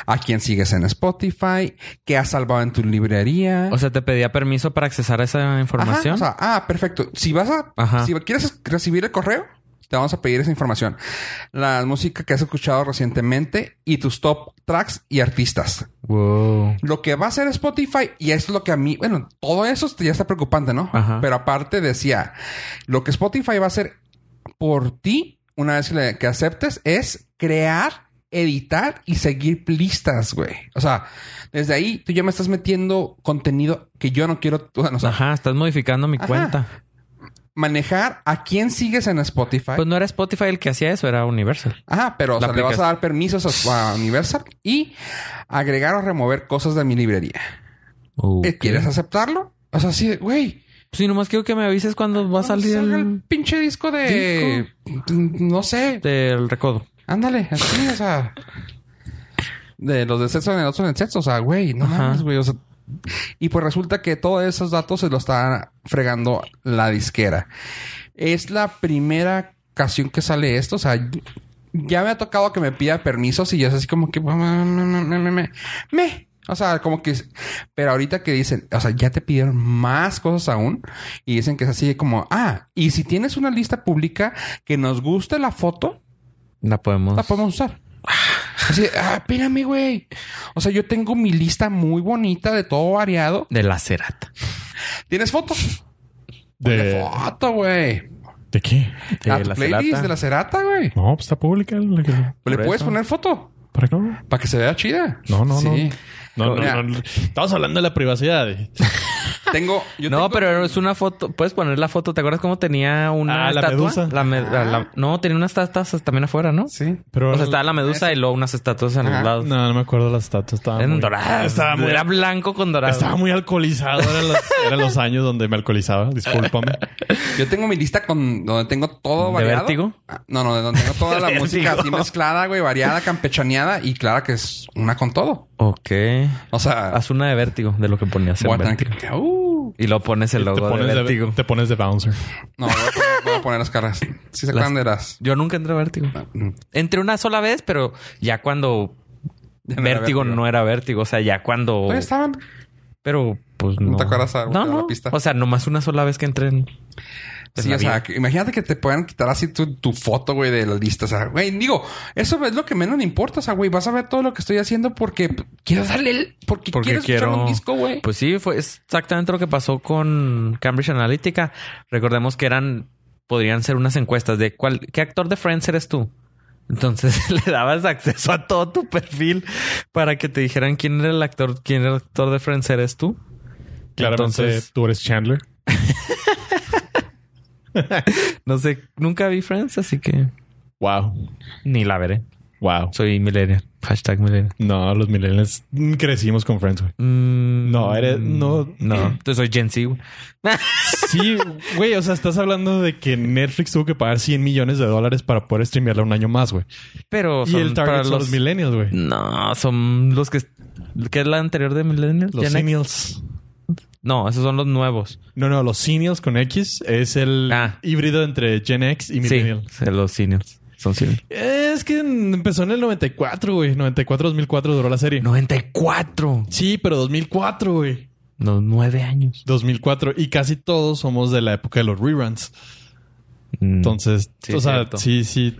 A: ¿A quién sigues en Spotify? ¿Qué has salvado en tu librería?
C: O sea, te pedía permiso para accesar a esa
A: Eh. Ajá,
C: información.
A: o sea, ah, perfecto. Si vas a...
C: Ajá.
A: Si quieres recibir el correo, te vamos a pedir esa información. La música que has escuchado recientemente y tus top tracks y artistas.
C: wow.
A: Lo que va a hacer Spotify, y es lo que a mí, bueno, todo eso ya está preocupante, ¿no?
C: Ajá.
A: Pero aparte decía, lo que Spotify va a hacer por ti, una vez que, le- que aceptes, es crear, editar y seguir listas, güey. O sea, desde ahí tú ya me estás metiendo contenido que yo no quiero, o sea, no, o sea,
C: Ajá, estás modificando mi
A: Ajá.
C: cuenta.
A: manejar a quién sigues en Spotify.
C: Pues no era Spotify el que hacía eso, era Universal.
A: Ajá, pero o
C: La
A: sea, le vas a
C: aplicas.
A: dar permisos a, a Universal y agregar o remover cosas de mi librería.
C: Okay.
A: Eh, ¿Quieres aceptarlo? O sea, sí, güey.
C: Sí, nomás quiero que me avises cuando va
A: Cuando
C: a salir
A: salga
C: el,
A: pinche disco de. No sé.
C: del recodo.
A: Ándale, así, o sea. De los de sexo en el otro en el sexo. O sea, güey, no
C: Ajá.
A: mames, güey. O sea. Y pues resulta que todos esos datos se los está fregando la disquera. Es la primera ocasión que sale esto. O sea, ya me ha tocado que me pida permisos y yo es así como que. Me, me, me, me. O sea, como que. Pero ahorita que dicen, o sea, ya te pidieron más cosas aún y dicen que es así como, ah, y si tienes una lista pública que nos guste la foto,
C: La podemos.
A: la podemos usar. Así, ah, espérame, güey. O sea, yo tengo mi lista muy bonita de todo variado.
C: De la cerata.
A: ¿Tienes fotos? De
D: De,
A: foto, güey.
D: ¿De qué?
C: De
A: A tu
C: la
A: playlist
C: Cerata.
A: de la cerata, güey.
D: No, pues está pública. la que-
A: Le
C: Por
A: puedes
C: eso.
A: poner foto
D: ¿Para qué no?
A: para que se vea chida.
D: No, no,
A: Sí.
D: No,
A: Mira.
D: no, no. Estamos hablando de la privacidad.
A: Tengo. Yo
C: no,
A: tengo-
C: pero es una foto. Puedes poner la foto. ¿Te acuerdas cómo tenía una
D: Ah, la
C: estatua?
D: medusa.
C: La me- la- la- no, tenía unas estatuas también afuera, ¿no?
A: Ah. Sí.
D: Pero
C: O sea, estaba la medusa y luego unas estatuas en
A: Ajá.
C: los lados.
D: No, no me acuerdo las estatuas. Estaba
C: Eran
D: muy-
C: doradas.
D: Estaba muy,
C: Era blanco con dorado.
D: estaba muy alcoholizado. Eran los, eran los años donde me alcoholizaba. Discúlpame.
A: Yo tengo mi lista con donde tengo todo
C: ¿De
A: variado.
C: vértigo?
A: Ah, No, no, de donde tengo toda la
D: De
A: música así
D: vértigo.
A: mezclada, güey, variada, campechaneada y clara que es una con todo.
C: Ok.
A: O sea,
C: Haz una de vértigo de lo que ponías. en
A: voy a tener
C: vértigo.
A: que. Uh,
C: Y lo pones el
D: te,
C: logo de
D: pones
C: vértigo.
D: de, te pones de bouncer.
A: no, voy a poner, voy a poner las caras. Si se acuerdan de las.
C: Yo nunca entré a vértigo.
A: Ah.
C: Entré una sola vez, pero ya cuando
A: Ya no era
C: vértigo,
A: Vértigo.
C: no era vértigo. O sea, ya cuando.
A: Todavía estaban.
C: Pero pues no.
A: ¿No te acuerdas a-
C: No,
A: a la
C: no.
A: pista?
C: O sea, nomás una sola vez que entré en. en
A: Sí,
C: la
A: o sea,
C: vida.
A: que- imagínate que te puedan quitar así tu, tu foto, güey, de la lista. O sea, güey, digo, eso es lo que menos me importa. O sea, güey, vas a ver todo lo que estoy haciendo porque p- quiero darle el... Porque,
C: Porque
A: quiero escuchar
C: quiero-
A: un disco, güey.
C: Pues sí, fue exactamente lo que pasó con Cambridge Analytica. Recordemos que eran, podrían ser unas encuestas de cuál, qué actor de Friends eres tú. Entonces le dabas acceso a todo tu perfil para que te dijeran quién era el actor, quién era el actor de Friends eres tú.
D: Claramente
C: Entonces-
D: tú eres Chandler.
C: No sé, nunca vi Friends, así que
D: Wow.
C: ni la veré.
D: Wow.
C: Soy millennial. Hashtag millennial.
D: No, los millennials mm, crecimos con Friends, güey.
C: Mm,
D: No, eres- no.
C: No, entonces soy Gen Z. güey.
D: Sí, güey. O sea, estás hablando de que Netflix tuvo que pagar 100 millones de dólares para poder streamearla un año más, güey.
C: Pero
D: Y
C: son
D: el
C: para
D: target son los
C: los
D: millennials, güey.
C: No, son los que. ¿Qué es la anterior de Millennials?
D: Los
C: Gen X.
D: senials.
C: No, esos son los nuevos.
D: No, no, los senials con X es el
C: Ah.
D: híbrido entre Gen X y
C: Sí,
D: Millennial.
C: los seniors. Son seniors.
D: Es que en- empezó en el 94, güey. 94-2004 duró la serie.
C: 94.
D: Sí, pero 2004, güey.
C: No, nueve años.
D: 2004. Y casi todos somos de la época de los reruns.
C: Mm.
D: Entonces,
C: Sí,
D: o sea,
C: cierto.
D: sí, sí.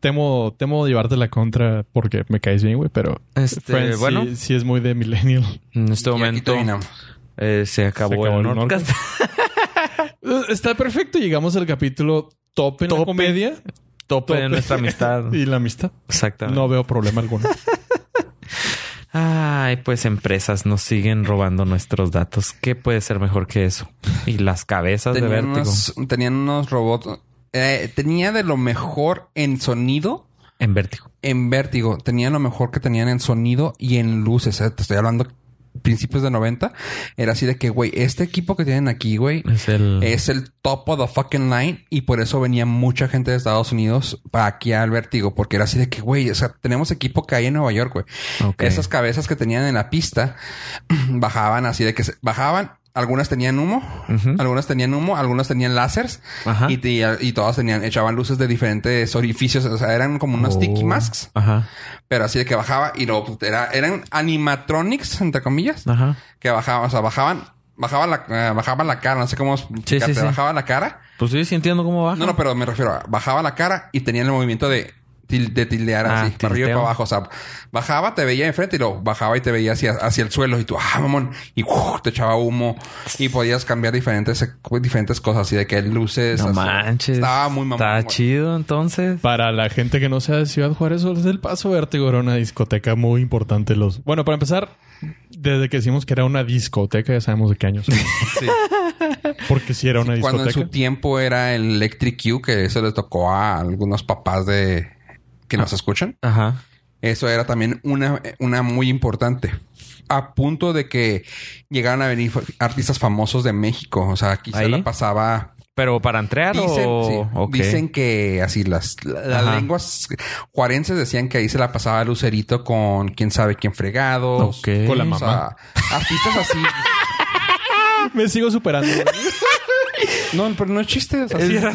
D: temo, temo llevarte la contra porque me caes bien, güey, pero
C: Este,
D: Friends sí-
C: bueno,
D: sí, es muy de millennial.
C: en este
A: Y aquí
C: momento
A: terminamos.
C: eh, se, acabó
D: acabó
C: el
D: el
C: Nordcast.
D: Eh, Está perfecto. Llegamos al capítulo top en la
C: Tope.
D: comedia
C: Tope de
D: Tope.
C: nuestra amistad.
D: y la amistad.
C: Exactamente.
D: No veo problema alguno.
C: Ay, pues empresas nos siguen robando nuestros datos. ¿Qué puede ser mejor que eso? Y las cabezas de
A: Tenían
C: vértigo.
A: unos, tenían unos robots. eh, tenía de lo mejor en sonido,
C: En vértigo.
A: en vértigo. Tenía lo mejor que tenían en sonido y en luces. eh, Te estoy hablando principios de 90. Era así de que, güey, este equipo que tienen aquí, güey,
C: Es el.
A: es el top of the fucking line y por eso venía mucha gente de Estados Unidos para aquí al vértigo, porque era así de que, güey, o sea, tenemos equipo que hay en Nueva York, güey.
C: Ok.
A: Esas cabezas que tenían en la pista bajaban así de que se- bajaban. Algunas tenían humo,
C: Ujú.
A: algunas tenían humo, algunas tenían láseres
C: Ajá.
A: y, te- y todas tenían, echaban luces de diferentes orificios. O sea, eran como unos
C: Oh.
A: sticky masks,
C: Ajá.
A: pero así de que bajaba y luego pues, era, eran animatronics, entre comillas
C: Ajá.
A: que bajaban, o sea, bajaban, bajaban la, eh, bajaban la cara, no sé cómo explicarte,
C: sí, sí.
A: bajaban la cara.
C: Pues sí, sí entiendo cómo va.
A: No, no, pero me refiero a, bajaba la cara y tenían el movimiento de, til- de tildear
C: Ah,
A: así, para arriba y
C: tilteo.
A: para abajo. O sea, bajaba, te veía enfrente y luego bajaba y te veía hacia, hacia el suelo y tú, ah, mamón, y ¡uf! te echaba humo y podías cambiar diferentes, diferentes cosas, así de que luces.
C: No
A: así.
C: manches.
A: pues, Estaba muy mamón.
C: Está
A: güey.
C: chido entonces.
D: Para la gente que no sea de Ciudad Juárez, Sol del Paso Vértigo era una discoteca muy importante. Los Bueno, para empezar, desde que decimos que era una discoteca, ya sabemos de qué años.
A: Sí.
D: Porque si era una
A: Cuando en
D: discoteca.
A: su tiempo era el Electric Q, que eso les tocó a algunos papás de que
C: Ah.
A: nos escuchan.
C: Ajá.
A: Eso era también una, una muy importante. A punto de que llegaron a venir artistas famosos de México. O sea, quizá
C: ¿Ahí?
A: la pasaba.
C: Pero para entrar
A: Dicen,
C: o.
A: sí,
C: ok.
A: dicen que así las, la- las
C: Ajá.
A: lenguas juarenses decían que ahí se la pasaba Lucerito con quién sabe quién fregado.
C: Ok.
D: Con la
A: O sea, artistas así.
D: Me sigo superando. güey.
A: no, pero no es chiste. o sea, sí era-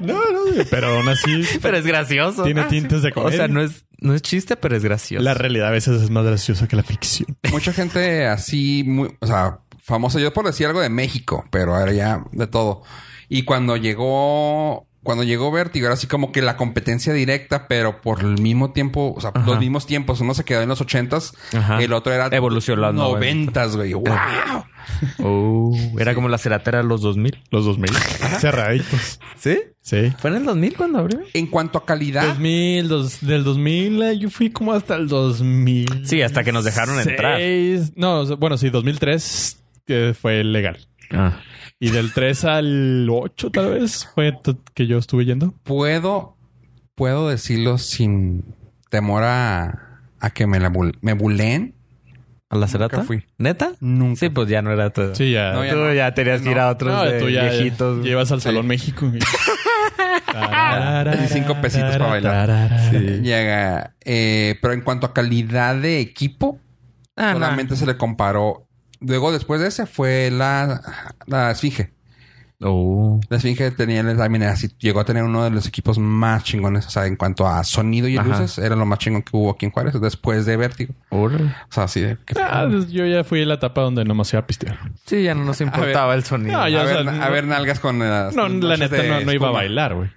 D: No, no, güey, pero aún así
C: Pero es gracioso. Ah,
D: tiene tintes de
C: O
D: comedia.
C: sea, no es, no es chiste, pero es gracioso.
D: La realidad a veces es más graciosa que la ficción.
A: mucha gente así, muy, o sea, famosa. Yo por decir algo de México, pero ahora ya de todo. Y cuando llegó, cuando llegó Vértigo, era así como que la competencia directa, pero por el mismo tiempo, o sea,
C: Ajá.
A: los mismos tiempos. Uno se quedó en los ochentas,
C: Ajá.
A: el otro era
C: Evolucionó a los
A: noventas, güey. ¡Wow!
C: Oh, era como la ceratera de los 2000.
D: Los 2000. Cerraditos.
C: ¿Sí?
D: Sí.
C: ¿Fue en el 2000 cuando abrió?
A: En cuanto a
C: Pues,
A: calidad,
D: 2000, dos- del 2000, eh, yo fui como hasta el 2000.
C: Sí, hasta que nos dejaron entrar.
D: No, o sea, bueno, sí, 2003 que fue legal.
C: Ah.
D: Y del 3 al 8 tal vez fue t- que yo estuve yendo.
A: puedo, puedo decirlo sin temor a, a que me, la bul- me buleen.
C: ¿A la cerata?
A: fui.
C: ¿Neta?
A: Nunca.
C: Sí, pues ya no era todo.
D: Sí, ya.
A: No,
C: Tú
A: no.
C: ya tenías que ir a otros
D: No,
C: de
D: tú ya
C: viejitos.
D: llevas al
A: Sí.
D: Salón México. y-
A: Y cinco pesitos para bailar. Llega. eh, pero en cuanto a calidad de equipo,
C: Ah, no.
A: solamente se le comparó. Luego, después de ese, fue la, la Esfinge.
C: Oh.
A: La Esfinge tenía también así, llegó a tener uno de los equipos más chingones. O sea, en cuanto a sonido y
C: Ajá.
A: luces, era lo más chingón que hubo aquí en Juárez después de Vértigo.
C: Órale.
A: O sea, así de. que-
D: Ah, pues yo ya fui a la etapa donde nomás iba a pistear.
C: Sí, ya no nos importaba el sonido.
D: No, ya-
A: a, ver,
D: o sea,
A: a ver nalgas con. las
D: No, la
A: noches
D: neta
A: de
D: no, no iba a
A: espuma.
D: bailar, güey.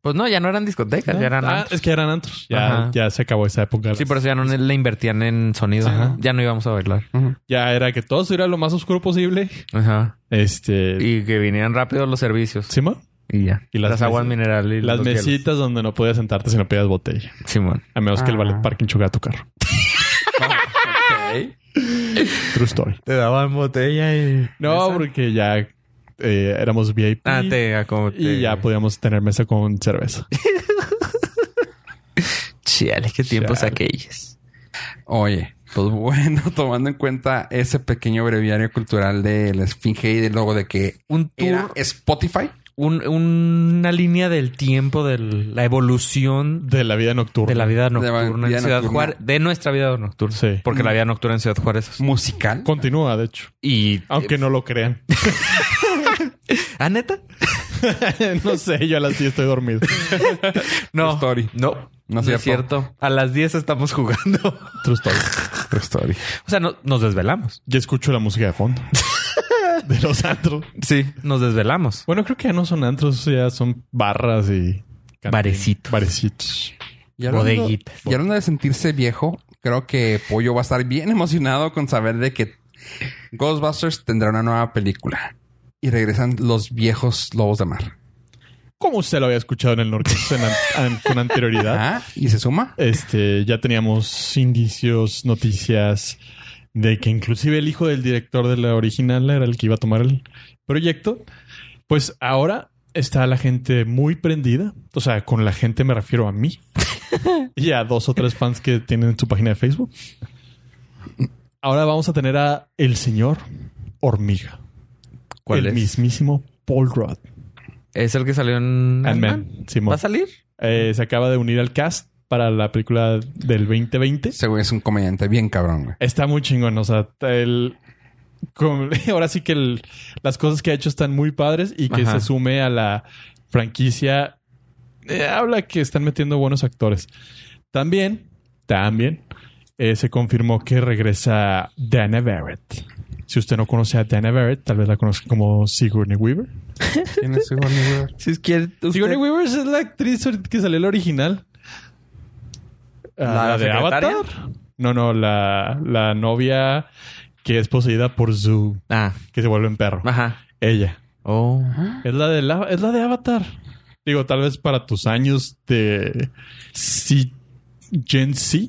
C: Pues no, ya no eran discotecas, ya eran.
D: Ah,
C: antros.
D: es que eran antros. Ya,
C: Ajá.
D: ya se acabó esa época.
C: Sí, por eso ya no le invertían en sonido.
D: Ajá.
C: Ya no íbamos a bailar.
A: Ujú.
D: Ya era que todo estuviera lo más oscuro posible.
C: Ajá.
D: Este.
C: Y que vinieran rápido los servicios.
D: Simón.
C: Y ya.
D: Y
C: las,
D: las
C: aguas
D: mesas-
C: minerales. y
D: Las
C: los hielos.
D: mesitas donde no podías sentarte si no pedías botella.
C: Simón.
D: A menos que el
A: Ah.
D: valet parking chocara tu carro.
A: Ok.
D: True story.
C: Te daban botella y.
D: No, porque ya eh, éramos VIP.
C: Ah, te, ah, como te-
D: Y ya pues. podíamos tener mesa con cerveza.
C: Chale, qué tiempos
D: Chale.
C: aquellos.
A: Oye, pues bueno, tomando en cuenta ese pequeño breviario cultural de la Esfinge y del logo de que
C: Un tour,
A: era Spotify.
C: un- una línea del tiempo, de la evolución
D: De la vida nocturna.
C: de la vida nocturna en
A: vida
C: Ciudad
A: nocturna.
C: Juárez, de nuestra vida nocturna.
D: Sí.
C: Porque la vida nocturna en Ciudad Juárez. es-
A: musical.
D: Continúa, de hecho.
C: Y.
D: Aunque no lo crean.
C: ¿Ah, neta?
D: no sé, yo a las 10 estoy dormido.
C: No.
A: Story.
C: No.
A: No
C: No,
A: es
C: es,
A: cierto.
C: cierto. A las 10 estamos jugando.
D: True story.
C: o sea, no- nos desvelamos.
D: Ya escucho la música de fondo. de los antros.
C: Sí. Nos desvelamos.
D: Bueno, creo que ya no son antros, ya son barras y Cantín.
C: Barecitos.
D: Barecitos.
A: Y hablando-
C: Bodeguitas.
A: Y hablando de sentirse viejo, creo que Pollo va a estar bien emocionado con saber de que Ghostbusters tendrá una nueva película. Y regresan los viejos lobos de mar.
D: Como usted lo había escuchado en el norte en an- an- con anterioridad,
A: Ajá. Ah, Y se suma.
D: este, ya teníamos indicios, noticias de que inclusive el hijo del director de la original era el que iba a tomar el proyecto. Pues ahora está la gente muy prendida. O sea, con la gente me refiero a mí y a dos o tres fans que tienen su página de Facebook. Ahora vamos a tener a el señor Hormiga. el mismísimo Paul Rudd.
C: Es el que salió en
D: Ant-Man.
C: Ant-Man.
D: Simón.
C: ¿Va a salir?
D: Eh, se acaba de unir al cast para la película del 2020.
A: Según es un comediante bien cabrón, güey.
D: Está muy chingón. O sea, el. con- ahora sí que el- las cosas que ha hecho están muy padres y que
C: Ajá.
D: se sume a la franquicia. eh, habla que están metiendo buenos actores. También, también, eh, se confirmó que regresa Dana Barrett. Si usted no conoce a Dana Barrett, tal vez la conozca como Sigourney Weaver.
A: ¿Quién es Sigourney Weaver?
C: Si es que
D: Sigourney Weaver es la actriz ahorita que salió la original. Ah,
C: ¿La secretaria?
D: No, no, la, la novia que es poseída por Zoo,
C: Ah,
D: que se vuelve un perro.
C: ajá.
D: Ella.
C: Oh.
D: Es la, de la, es la de Avatar. Digo, tal vez para tus años de C- Gen Z.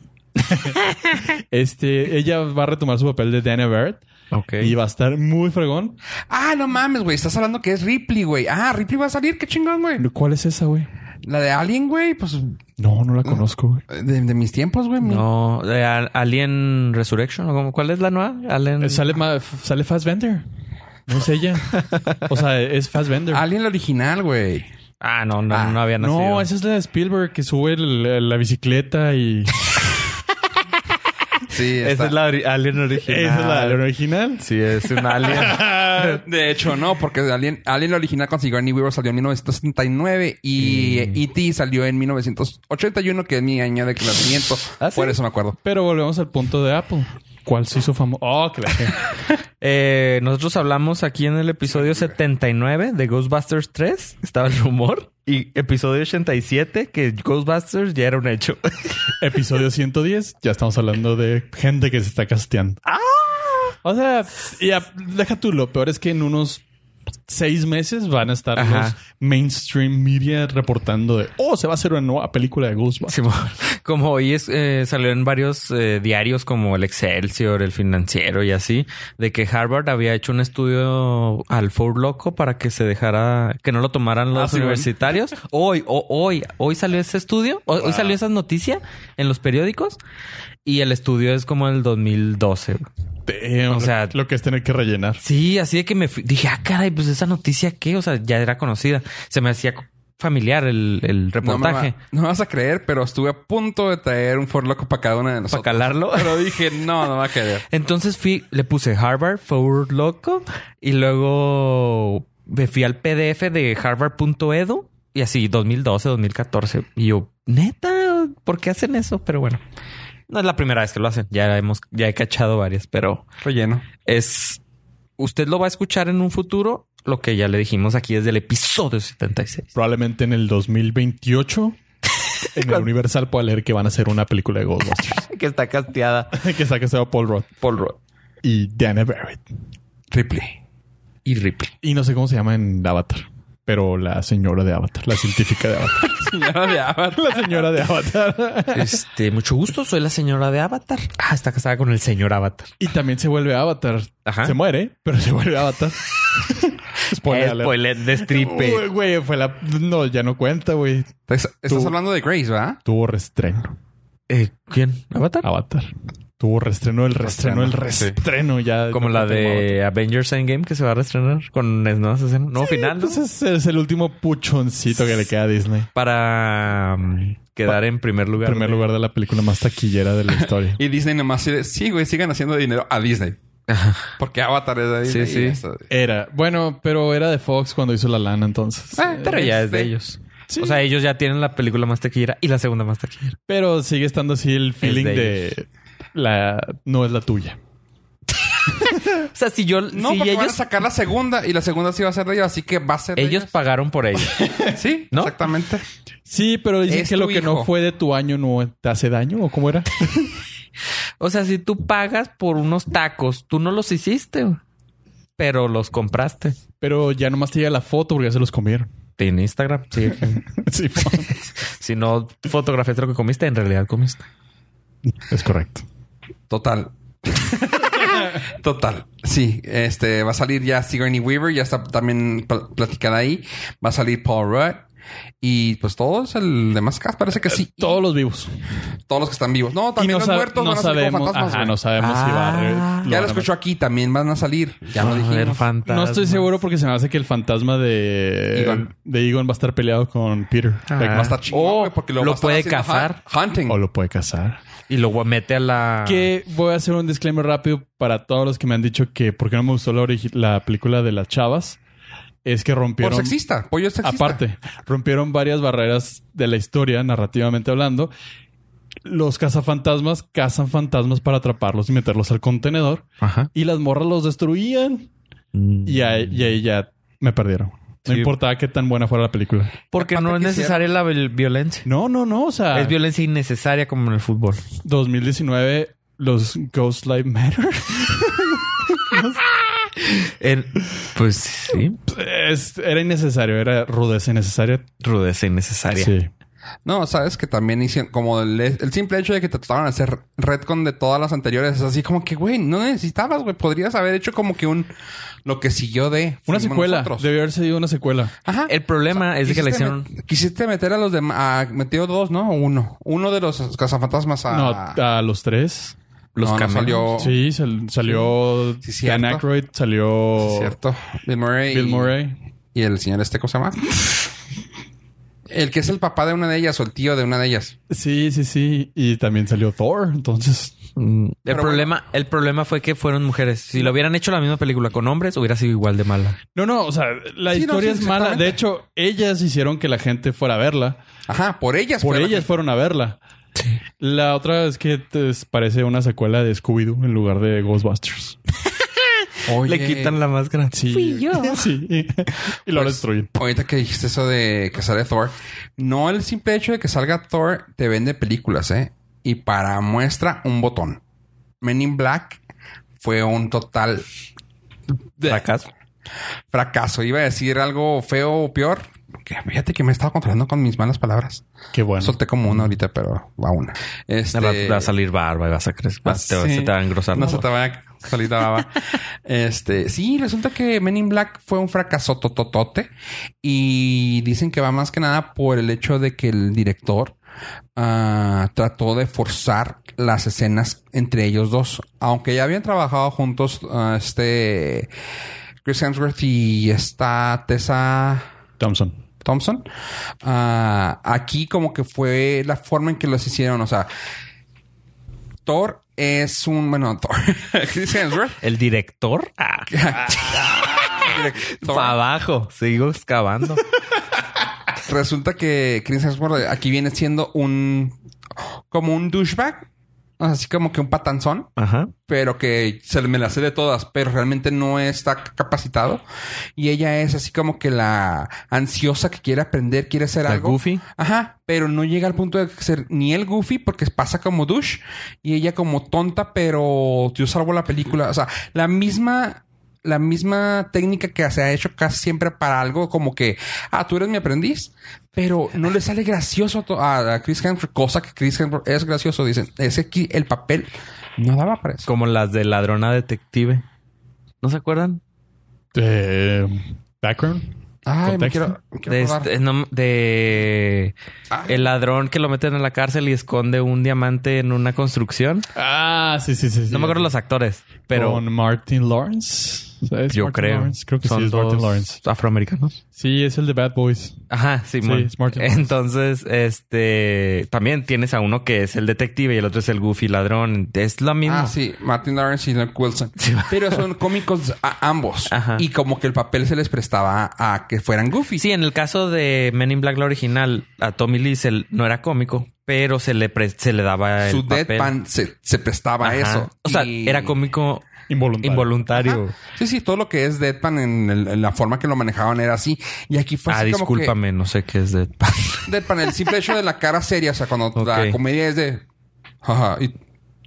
D: este, ella va a retomar su papel de Dana Barrett
C: Ok.
D: y va a estar muy fregón.
A: Ah, no mames, güey. Estás hablando que es Ripley, güey. Ah, Ripley va a salir. Qué chingón, güey.
D: ¿Cuál es esa, güey?
A: La de Alien, güey. Pues
D: No,
C: Mm.
D: no la conozco, güey.
A: de, de mis tiempos, güey. mi-
C: No, de Al- Alien Resurrection. ¿o cómo? ¿Cuál es la nueva? Alien...
D: Eh, Sale, ma- f- sale Fassbender. No es ella. O sea, es Fassbender.
A: Alien la original, güey.
C: Ah, no, no,
A: Ah,
C: no había nacido.
D: no, esa es la de Spielberg que sube el- la bicicleta y...
A: Sí,
C: Esa
A: está-
C: es la ori- Alien original.
D: Esa es la, la original.
C: Sí, es un Alien.
A: De hecho, no, porque Alien, Alien la original con Sigourney Weaver salió en 1979 y
C: Mm.
A: eh, E.T. salió en 1981, que es mi año de nacimiento.
C: ¿Ah, sí?
A: Por eso me acuerdo.
D: Pero volvemos al punto de Apple. ¿Cuál se hizo famoso? Oh, que la
C: Eh, nosotros hablamos aquí en el episodio 79 de Ghostbusters 3. Estaba el rumor. Y episodio 87 que Ghostbusters ya era un hecho.
D: Episodio 110. Ya estamos hablando de gente que se está casteando. Ah. O sea, y a- deja tú. Lo peor es que en unos seis meses van a estar
C: Ajá.
D: los mainstream media reportando de... Oh, se va a hacer una nueva película de Ghostbusters.
C: Simón. Como hoy es, eh, salió en varios eh, diarios como el Excelsior, el Financiero y así, de que Harvard había hecho un estudio al Four Loco para que se dejara, que no lo tomaran
A: Ah,
C: los
D: sí, bueno.
C: universitarios. Hoy, ho- hoy, hoy salió ese estudio, hoy, hoy salió esa noticia en los periódicos y el estudio es como el 2012. güey.
D: Damn,
C: O sea-
D: lo que es tener que rellenar.
C: Sí, así de que me fui- dije, ah, caray, pues esa noticia qué, o sea, ya era conocida, se me hacía co- familiar el, el
A: No me,
C: reportaje.
A: va- no me vas a creer, pero estuve a punto de traer un Ford Loco para cada una de
C: para
A: nosotros.
C: calarlo.
A: Pero dije, no, no va a querer.
C: Entonces fui, le puse Harvard Forward Loco y luego me fui al PDF de harvard.edu y así 2012, 2014. Y yo, neta, ¿por qué hacen eso? Pero bueno, no es la primera vez que lo hacen. Ya hemos, ya he cachado varias, pero
A: Relleno.
C: es. Usted lo va a escuchar en un futuro, lo que ya le dijimos aquí desde el episodio 76.
D: Probablemente en el 2028 en el Universal pueda leer que van a hacer una película de Ghostbusters.
C: Que está casteada
D: que saque a Paul Rudd
C: Paul Rudd
D: y Dana Barrett.
A: Ripley.
C: y Ripley.
D: Y no sé cómo se llama en Avatar, pero la señora de Avatar, la científica de Avatar.
A: Señora de Avatar.
D: la señora de Avatar.
C: Este, mucho gusto, soy la señora de Avatar. Ah, está casada con el señor Avatar.
D: Y también se vuelve Avatar.
C: Ajá.
D: Se muere, pero se vuelve Avatar. Spoiler alert.
C: Spoiler de stripe.
D: Uy, güey, fue la... No, ya no cuenta, güey.
A: Estás, estás
D: Tú.
A: hablando de Grace, ¿verdad?
D: Tuvo restreno.
C: Eh, ¿Quién? ¿Avatar?
D: Avatar. Tuvo restreno, el restreno, el
A: Restreno, sí.
D: restreno. Ya
C: Como la de Avengers Endgame que se va a reestrenar con las nuevas escenas. Nuevo final. ¿no?
D: Entonces pues es el último puchoncito que le queda a Disney.
C: Para um, quedar en primer lugar.
D: primer lugar de la película más taquillera de la historia.
A: Y Disney nomás sí, de- sí, güey, sigan haciendo dinero a Disney. Porque Avatar es de Disney.
C: sí.
A: y eso.
D: Era. Bueno, pero era de Fox cuando hizo la lana entonces.
A: Ah,
C: Pero ya es
A: este,
C: de ellos.
D: Sí.
C: O sea, ellos ya tienen la película más taquillera y la segunda más taquillera.
D: Pero sigue estando así el feeling
C: de
D: de, la no es la tuya.
C: O sea, si yo.
A: No,
C: si
A: porque van a
C: ellos,
A: sacar la segunda y la segunda sí va a ser de ellos, así que va a ser de
C: ellos pagaron por ello.
A: Sí,
C: ¿no?
A: exactamente.
D: Sí, pero dicen
A: Es
D: que lo
A: tu
D: que no
A: hijo.
D: fue de tu año no te hace daño o cómo era.
C: O sea, si tú pagas por unos tacos, tú no los hiciste, güey, pero los compraste.
D: Pero ya nomás te llega la foto porque ya se los comieron.
C: En Instagram. Sí.
D: Sí,
C: si no fotografiaste lo que comiste, en realidad comiste.
D: es correcto.
A: Total. Total. Sí, este va a salir ya Sigourney Weaver, ya está también pl- platicada ahí. Va a salir Paul Rudd y pues todos el demás cast parece que sí.
D: Todos los vivos.
A: Todos los que están vivos. No, también los
D: sab-
A: muertos
D: no
A: van a salir
D: sabemos,
A: como fantasmas.
D: ajá,
A: güey.
D: no sabemos si va a re-
C: Ah.
D: lo
A: ya lo
D: van a-
A: escucho aquí, también van Ah, a salir. Ya lo
C: A ver,
A: dijimos.
C: fantasma.
D: No estoy seguro porque se me hace que el fantasma de
A: Egon.
D: de Egon va a estar peleado con Peter.
C: Ah.
A: Va a estar chingón,
C: Oh,
A: güey, porque lo,
C: lo
A: va a estar
C: puede
A: haciendo
C: cazar.
A: hunt- Hunting.
D: O lo puede casar.
C: Y luego mete a
A: Ah.
C: la.
D: Que voy a hacer un disclaimer rápido para todos los que me han dicho que por qué no me gustó la, origi- la película de las chavas. Es que
A: Por
D: rompieron...
A: sexista. Pollo es sexista.
D: Aparte, rompieron varias barreras de la historia, narrativamente hablando. Los cazafantasmas cazan fantasmas para atraparlos y meterlos al contenedor.
C: Ajá.
D: Y las morras los destruían. Y ahí, y ahí ya me perdieron. No
A: Sí.
D: importaba qué tan buena fuera la película.
C: Porque no es
A: Aparte quisiera-
C: necesaria la viol- violencia.
D: No, no, no. O sea,
C: Es violencia innecesaria como en el fútbol.
D: 2019, los Ghost Life Matter.
C: En- pues sí,
D: Es- era innecesario, era rudeza innecesaria.
C: rudeza innecesaria.
D: Sí.
A: No, sabes que también hicieron como el, el simple hecho de que te trataron de hacer retcon de todas las anteriores. Es así como que, güey, no necesitabas, güey. Podrías haber hecho como que un lo que siguió de
D: Una
A: fuimos
D: secuela.
A: nosotros.
D: Debió haber sido una secuela.
A: Ajá.
C: El problema es de que le
A: Quisiste
C: hicieron.
A: met- quisiste meter a los demás. Metió dos, ¿no? O Uno. Uno de los cazafantasmas a.
D: No, a los tres.
A: los
C: los cameos.
A: salió.
D: Sí, sal- salió
A: Oh. Sí, cierto.
D: Dan Aykroyd, salió
A: Sí, cierto. Bill Murray.
D: Bill
A: y-
D: Murray.
A: Y el señor este, ¿cómo se llama? el que es el papá de una de ellas o el tío de una de ellas.
D: Sí, sí, sí. Y también salió Thor. Entonces,
C: Mm, El
A: Pero
C: problema, el problema fue que fueron mujeres. Si lo hubieran hecho la misma película con hombres, hubiera sido igual de mala.
D: no, no, o sea, la
A: Sí, no,
D: historia
A: sí,
D: es mala.
A: exactamente.
D: De hecho, ellas hicieron que la gente fuera a verla.
A: Ajá, por ellas.
D: Por
A: fue la
D: ellas fueron a verla. La otra es que te parece una secuela de Scooby-Doo en lugar de Ghostbusters.
A: que- Oye.
C: Le quitan la máscara.
D: Sí. Pues,
C: Fui yo.
D: Sí. Y lo destruyen.
A: Pues, Ahorita que dijiste eso de que sale Thor, no el simple hecho de que salga Thor te vende películas, ¿eh? Y para muestra, un botón. Men in Black fue un total
C: Fracaso.
A: fracaso. Iba a decir algo feo o peor. Que fíjate que me he estado controlando con mis malas palabras.
D: Qué bueno.
A: Solté como una ahorita, pero va una. Este,
C: Al rato te va a salir barba y vas a crecer. vas- Ah, te,
A: Ah, Sí.
C: se te va a engrosar.
A: No
C: la
A: se
C: barba.
A: te va a salir la baba. este, sí, resulta que Men in Black fue un fracaso tototote y dicen que va más que nada por el hecho de que el director ah, trató de forzar las escenas entre ellos dos, aunque ya habían trabajado juntos ah, este Chris Hemsworth y esta Tessa
D: Thompson.
A: Thompson. Ah, aquí como que fue la forma en que los hicieron. O sea, Thor es un... Bueno, Thor. Chris Hemsworth.
C: El director. Ah,
A: director.
C: para abajo. Sigo excavando.
A: Resulta que Chris Hemsworth eh, aquí viene siendo un... Como un douchebag. O sea, Así como que un patanzón.
C: Ajá.
A: pero que se me la sé de todas, pero realmente no está c- capacitado. Y ella es así como que la ansiosa que quiere aprender, quiere hacer
C: La
A: algo.
C: goofy.
A: Ajá, pero no llega al punto de ser ni el goofy porque pasa como douche y ella como tonta, pero yo salvo la película. O sea, la misma... La misma técnica que se ha hecho casi siempre para algo como que, ah, tú eres mi aprendiz, pero no le sale gracioso a to- a, a Chris Hemsworth, cosa que Chris Hemsworth es gracioso. Dicen, ese aquí el papel no daba para eso.
C: Como las de ladrona detective. ¿No se acuerdan?
D: Eh, background.
A: Ay, me
D: Contexto.
A: quiero, me quiero
C: De,
A: acordar.
C: este- no, de
A: Ah.
C: el ladrón que lo meten en la cárcel y esconde un diamante en una construcción.
D: Ah, sí, sí, sí. sí.
C: No me acuerdo los actores, pero
D: Con Martin Lawrence. ¿sabes?
C: yo
D: Martin
C: creo.
D: Lawrence. Creo que
C: son
D: sí, es
C: dos
D: Martin Lawrence.
C: afroamericanos.
D: Sí, es el de Bad Boys.
C: Ajá,
D: Sí,
C: Simón.
D: es Martin Lawrence.
C: Entonces, este también tienes a uno que es el detective y el otro es el goofy ladrón. Es lo mismo.
A: Ah, sí, Martin Lawrence y Luke Wilson. Pero son cómicos a ambos.
C: Ajá.
A: Y como que el papel se les prestaba a, a que fueran goofy.
C: Sí, en el caso de Men in Black la original, a Tommy Lee se l- no era cómico, pero se le pre- se le daba el
A: Su
C: papel.
A: deadpan se, se prestaba a
C: Ajá.
A: eso.
C: O sea,
A: Y- Ah,
C: era cómico
D: Involuntario.
C: Involuntario.
A: Sí, sí, todo lo que es Deadpan en, el- en la forma que lo manejaban era así. Y aquí fue
C: ah,
A: así como que
C: discúlpame, no sé qué es de
A: Deadpan, el simple hecho de la cara seria, o sea, cuando la
C: Ok.
A: comedia es de jaja, y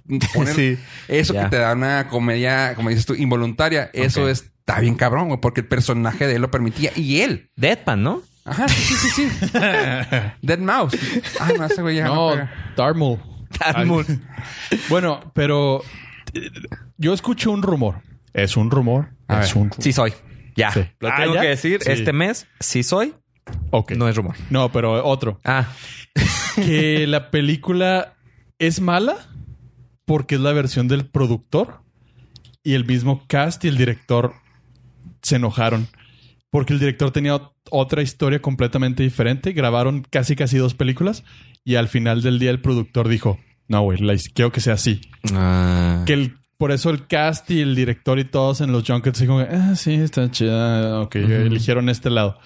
A: poner
D: Sí.
A: eso
C: Ya.
A: que te da una comedia, como dices tú, involuntaria, eso
C: Ok.
A: es está bien cabrón, güey, porque el personaje de él lo permitía y él.
C: Deadpan, ¿no?
A: Ajá, sí, sí, sí, sí. Dead Mouse. Ah, no, ese güey ya no
D: No,
A: pega.
D: Darmul.
C: Darmul.
D: Bueno, pero eh, yo escucho un rumor. Es un rumor.
A: A
D: es
A: ver.
D: un rumor.
C: Sí soy. Ya.
D: Sí.
C: Lo
D: Ah,
C: tengo
D: ¿ya?
C: que decir.
D: Sí.
C: Este mes, sí soy.
D: Ok.
C: No es rumor.
D: No, pero otro.
C: Ah,
D: que la película es mala porque es la versión del productor y el mismo cast y el director se enojaron porque el director tenía ot- otra historia completamente diferente. Grabaron casi casi dos películas y al final del día el productor dijo, no, güey, la his- quiero que sea así.
C: Ah.
D: Que el- por eso el cast y el director y todos en los junkets dijo, ah, sí, está chida, ok, eligieron este lado.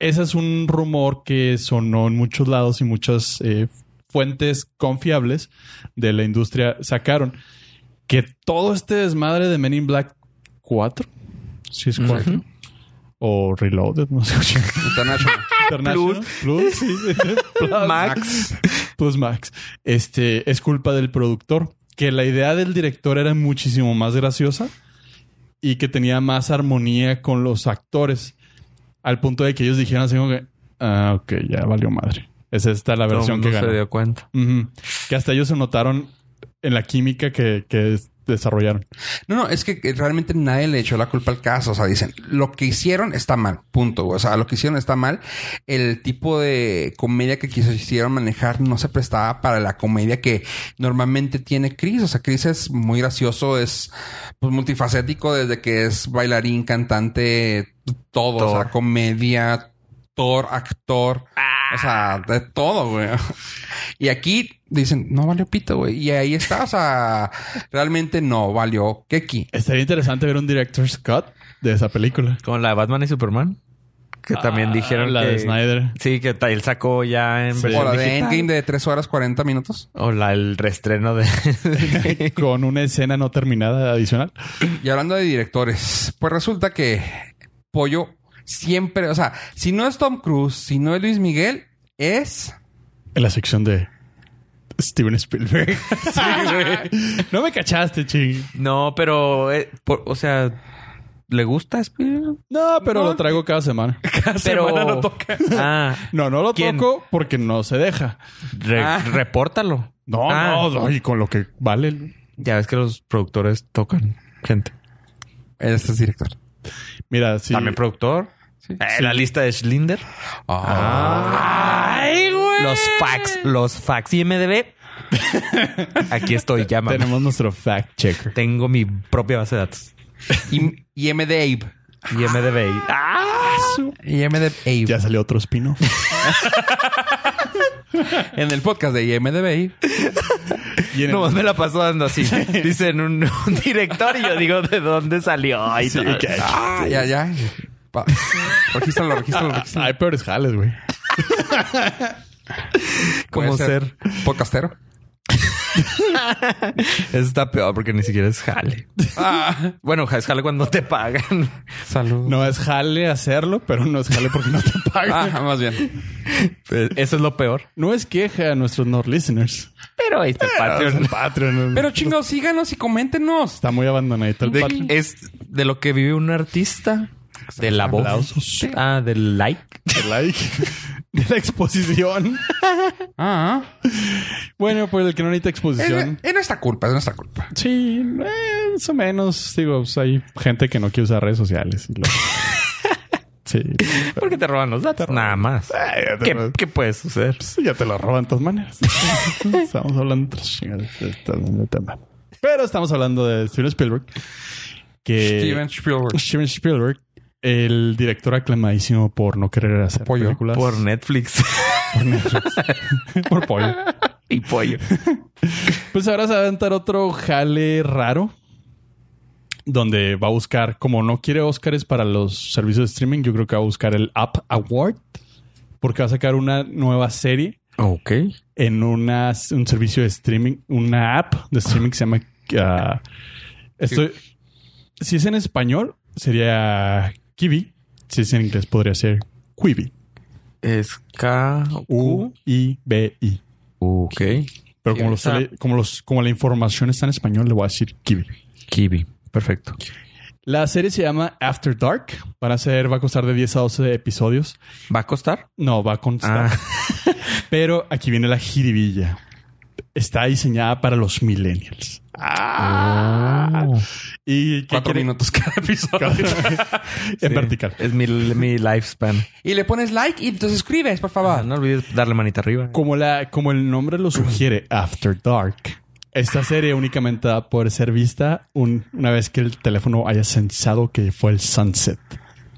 D: Ese es un rumor que sonó en muchos lados y muchas eh, fuentes confiables de la industria sacaron. Que todo este desmadre de Men in Black 4, si es 4, o Reloaded, no sé.
A: International.
D: International, Plus, sí, Plus.
C: Max.
D: Pues Max, este es culpa del productor, que la idea del director era muchísimo más graciosa y que tenía más armonía con los actores, al punto de que ellos dijeron así como que, ah, ok, ya valió madre. Es esta la
C: Todo el
D: versión que
C: mundo se
D: ganó.
C: dio cuenta.
D: Ujú. Que hasta ellos se notaron en la química que, que es- desarrollaron.
A: No, no, es que realmente nadie le echó la culpa al caso. O sea, dicen, lo que hicieron está mal, punto. O sea, lo que hicieron está mal. El tipo de comedia que quisieron manejar no se prestaba para la comedia que normalmente tiene Chris. O sea, Chris es muy gracioso, es pues, multifacético desde que es bailarín, cantante, todo. O sea,
C: Actor.
A: comedia, actor, actor. O sea, de todo, güey. Y aquí dicen, no valió pito, güey. Y ahí está, o sea, realmente no valió Keki.
D: Estaría interesante ver un director's cut de esa película.
C: Con la de Batman y Superman. Que también
D: Ah,
C: dijeron
D: la
C: que...
D: de Snyder.
C: Sí, que ta- él sacó ya en
D: Sí.
A: O
C: versión
A: la de
C: digital.
A: Endgame de 3 horas 40 minutos.
C: O la el reestreno de...
D: con una escena no terminada adicional.
A: Y hablando de directores, pues resulta que Pollo siempre, o sea, si no es Tom Cruise, si no es Luis Miguel, es...
D: En la sección de Steven Spielberg. Sí, güey. No me cachaste, ching.
C: no, pero... eh, por- o sea... ¿Le gusta Spielberg?
D: No, pero
C: No.
D: lo traigo cada semana.
C: Pero...
D: semana lo toca.
C: Ah,
D: No, no lo
C: ¿Quién?
D: toco porque no se deja.
C: re-
A: Ah.
C: repórtalo.
D: No,
C: Ah.
D: no, y con lo que vale.
C: Ya ves que los productores tocan gente.
A: Este es director.
D: Mira, sí.
C: También productor. Eh, La lista de Schlinder. Ay, güey. Los fax, los fax. IMDB. Aquí estoy, llámame.
D: tenemos nuestro fact checker.
C: Tengo mi propia base de datos.
A: Y, y M. Dave.
C: IMDB.
D: Ah,
A: Y M. de Abe.
D: Ya salió otro espino.
A: En el podcast de IMDB.
D: Y en el-
C: No, me la pasó dando así. Dicen un, un director y yo digo, ¿de dónde salió? Ay,
D: Sí,
C: no.
D: que-
A: Ah, ya, ya. Pa- Regístralo, regístralo, regístralo.
D: Hay peores jales, güey.
C: ¿Cómo
A: Puede
C: ser?
A: Podcastero.
C: Eso está peor porque ni siquiera es jale. Bueno, es jale cuando te pagan.
A: Salud.
D: No es jale hacerlo, pero no es jale porque no te pagan.
A: Ah, más bien.
C: Eso es lo peor.
D: No es queja a nuestros not listeners.
C: Pero ahí está el Patreon.
D: Ah, El Patreon.
A: Pero chingados, síganos y coméntenos.
D: Está muy abandonadito el
C: De-
D: Patreon.
C: es de lo que vive un artista. De la voz.
D: Aplausos.
C: Ah, del like.
D: de like, de la exposición.
A: Ah,
D: Bueno, pues el que no necesita
A: es,
D: exposición.
A: es nuestra culpa, es nuestra culpa.
D: Eh, Sí, eh, más o menos. Digo, pues, hay gente que no quiere usar redes sociales. y lo- sí.
C: Porque te roban los datos. Nada más.
D: Ay, ya te
C: ¿Qué,
D: lo-
C: qué puede suceder?
D: pues, ya te lo roban de todas maneras. estamos hablando de otras chingaderas, de otro tema. Pero estamos hablando de Steven Spielberg. Que
A: Steven Spielberg.
D: Steven Spielberg, el director aclamadísimo por no querer hacer
A: pollo.
D: películas.
C: Por Netflix
D: por pollo.
C: y pollo.
D: Pues ahora se va a aventar otro jale raro. Donde va a buscar, como no quiere Óscares para los servicios de streaming, yo creo que va a buscar el App Award. Porque va a sacar una nueva serie
C: Ok.
D: en una- un servicio de streaming, una app de streaming que se llama ah, Estoy. Si es en español, sería kiwi. Si es en inglés, podría ser quibi.
E: Es K. U.
D: U-I-B-I.
E: Ok.
D: Pero como,
A: Kiwi.
D: los, como, los, como la información está en español, le voy a decir kiwi.
C: Kiwi. Perfecto.
D: La serie se llama After Dark. Van a ser, va a costar de 10 a 12 episodios.
C: ¿Va a costar?
D: No, va a constar.
C: Ah.
D: Pero aquí viene la jiribilla. Está diseñada para los millennials.
C: Oh.
D: Y ¿qué
A: Cuatro
D: quiere-
A: minutos cada episodio.
D: en
C: Sí.
D: vertical.
C: Es mi, mi lifespan.
A: y le pones like y te suscribes, por
C: Ah,
A: favor.
C: no olvides darle manita arriba.
D: Como, la, como el nombre lo sugiere, After Dark. Esta serie únicamente va a poder ser vista un- una vez que el teléfono haya sensado que fue el sunset.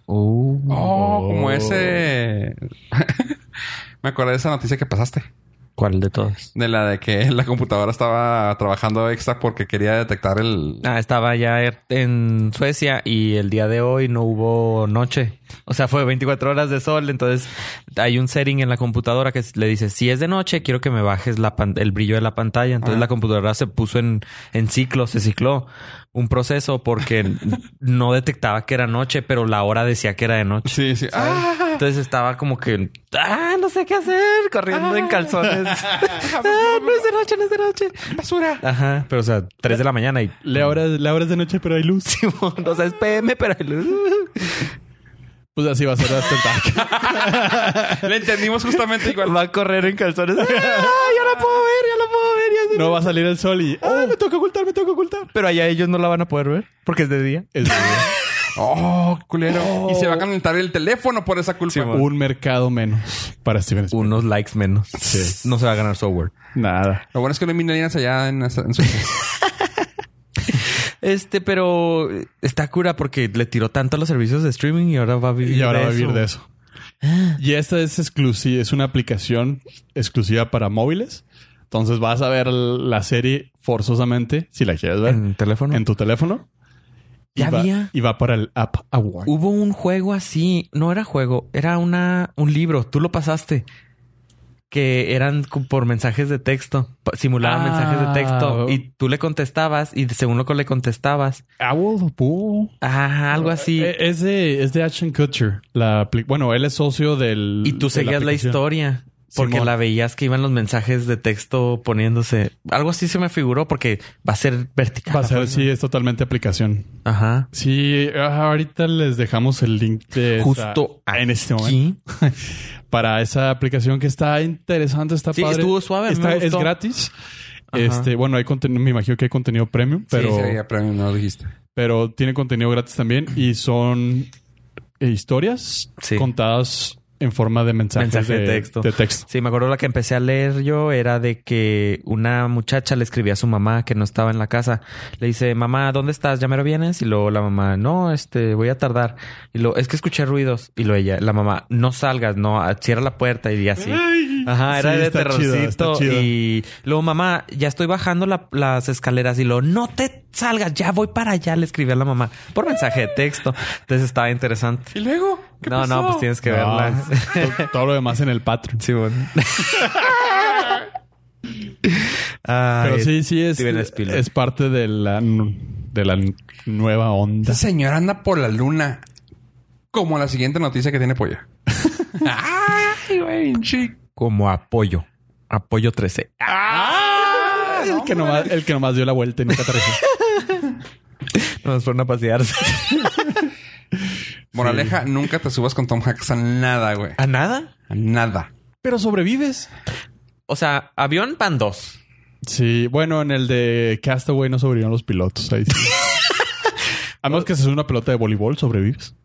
C: Oh.
A: Oh, como ese. Me acordé de esa noticia que pasaste.
C: ¿Cuál de todas?
A: De la de que la computadora estaba trabajando extra porque quería detectar el.
C: Ah, estaba ya er- en Suecia y el día de hoy no hubo noche. O sea, fue 24 horas de sol. Entonces hay un setting en la computadora que le dice, si es de noche, quiero que me bajes la pan- el brillo de la pantalla. Entonces
A: Ah.
C: la computadora se puso en, en ciclo, se cicló un proceso porque no detectaba que era noche, pero la hora decía que era de noche.
A: Sí, sí. Ah,
C: Entonces estaba como que, ah, no sé qué hacer, corriendo en calzones. ah, no es de noche, no es de noche.
A: basura.
C: Ajá, pero o sea, 3 de la mañana y
D: La hora, la hora es de noche, pero hay luz.
C: o sea, es PM, pero...
D: Pues así va a ser After Dark.
A: Le entendimos justamente igual.
C: Va a correr en calzones. ¡Ah, ya la puedo ver, ya la puedo ver! ya se-
D: No va a salir el sol y... ¡Ah, me toca ocultar, me toca ocultar!
C: Pero allá ellos no la van a poder ver porque es de día.
D: Es
A: Oh, culero. Y se va a calentar el teléfono por esa culpa. Uh,
D: un mercado menos para Steven Spielberg.
C: Unos likes menos.
D: Sí.
C: No se va a ganar software.
D: Nada.
A: Lo bueno es que no hay millennials allá en, en Suecia.
C: Este, pero está cura porque le tiró tanto a los servicios de streaming y ahora va a vivir
D: Y ahora
C: de
D: va a vivir
C: eso.
D: de eso. Y esta es exclusiva, es una aplicación exclusiva para móviles. Entonces vas a ver la serie forzosamente, si la quieres ver, en,
C: En teléfono.
D: tu teléfono.
C: Ya
D: y va,
C: había.
D: Y va para el App Award.
C: Hubo un juego así, no era juego, era una un libro, tú lo pasaste. Que eran cu- por mensajes de texto, pa- simulaban
D: Ah.
C: mensajes de texto y tú le contestabas y según lo que le contestabas,
D: Owl, Bull.
C: ajá, algo así.
D: Eh, Es de, es de Action Culture. La apli- bueno, él es socio del.
C: y tú
D: de
C: seguías la,
D: aplicación.
C: historia porque
D: Simón.
C: la veías que iban los mensajes de texto poniéndose. Algo así se me figuró porque va a ser vertical.
D: Va a ser,
C: pues,
D: sí, es totalmente aplicación.
C: Ajá.
D: Sí, ah, ahorita les dejamos el link de. esa-
C: Justo
D: en este momento.
C: aquí.
D: para esa aplicación que está interesante, está
C: Sí,
D: padre.
C: estuvo suave, a mí
D: Está-
C: me
D: es
C: gustó.
D: gratis.
C: Ajá.
D: Este, bueno, hay contenido, me imagino que hay contenido premium, pero,
A: Sí, sería premium, no lo dijiste.
D: pero tiene contenido gratis también y son eh, historias
C: Sí.
D: contadas en forma de mensajes
C: Mensaje de texto.
D: de texto.
C: Sí, me acuerdo la que empecé a leer yo era de que una muchacha le escribía a su mamá que no estaba en la casa. Le dice, mamá, ¿dónde estás? ¿Ya mero vienes? Y luego la mamá, no, este, voy a tardar. Y luego, es que escuché ruidos. Y luego ella, la mamá, no salgas, no, a- cierra la puerta y así. Ajá, era
D: Sí,
C: de
D: está chido, está
C: terrorcito.
D: chido.
C: Y luego, mamá, ya estoy bajando la- las escaleras. Y luego, no te salgas, ya voy para allá. Le escribí a la mamá por mensaje de texto. Entonces estaba interesante.
A: ¿Y luego? ¿Qué
C: No,
A: pasó?
C: no, pues tienes que
D: No,
C: verla.
D: es- Ah, to- todo lo demás en el Patreon.
C: Simón.
D: pero sí, sí es,
C: Steven Spielberg.
D: es parte de la, nu- de la n- nueva onda.
A: Esa señora anda por la luna. Como la siguiente noticia que tiene pollo. Ay, güey, chico.
C: Como apoyo. Apoyo 13.
D: el, que nomás, el que nomás dio la vuelta y nunca aterrizó.
C: Nos fueron a pasearse.
A: Moraleja, nunca te subas con Tom Hanks a nada, güey.
C: ¿A nada?
A: A nada.
D: pero sobrevives.
C: O sea, avión pan 2.
D: Sí, bueno, en el de Castaway no sobrevivieron los pilotos. Ahí sí. A menos que se sube una pelota de voleibol, sobrevives.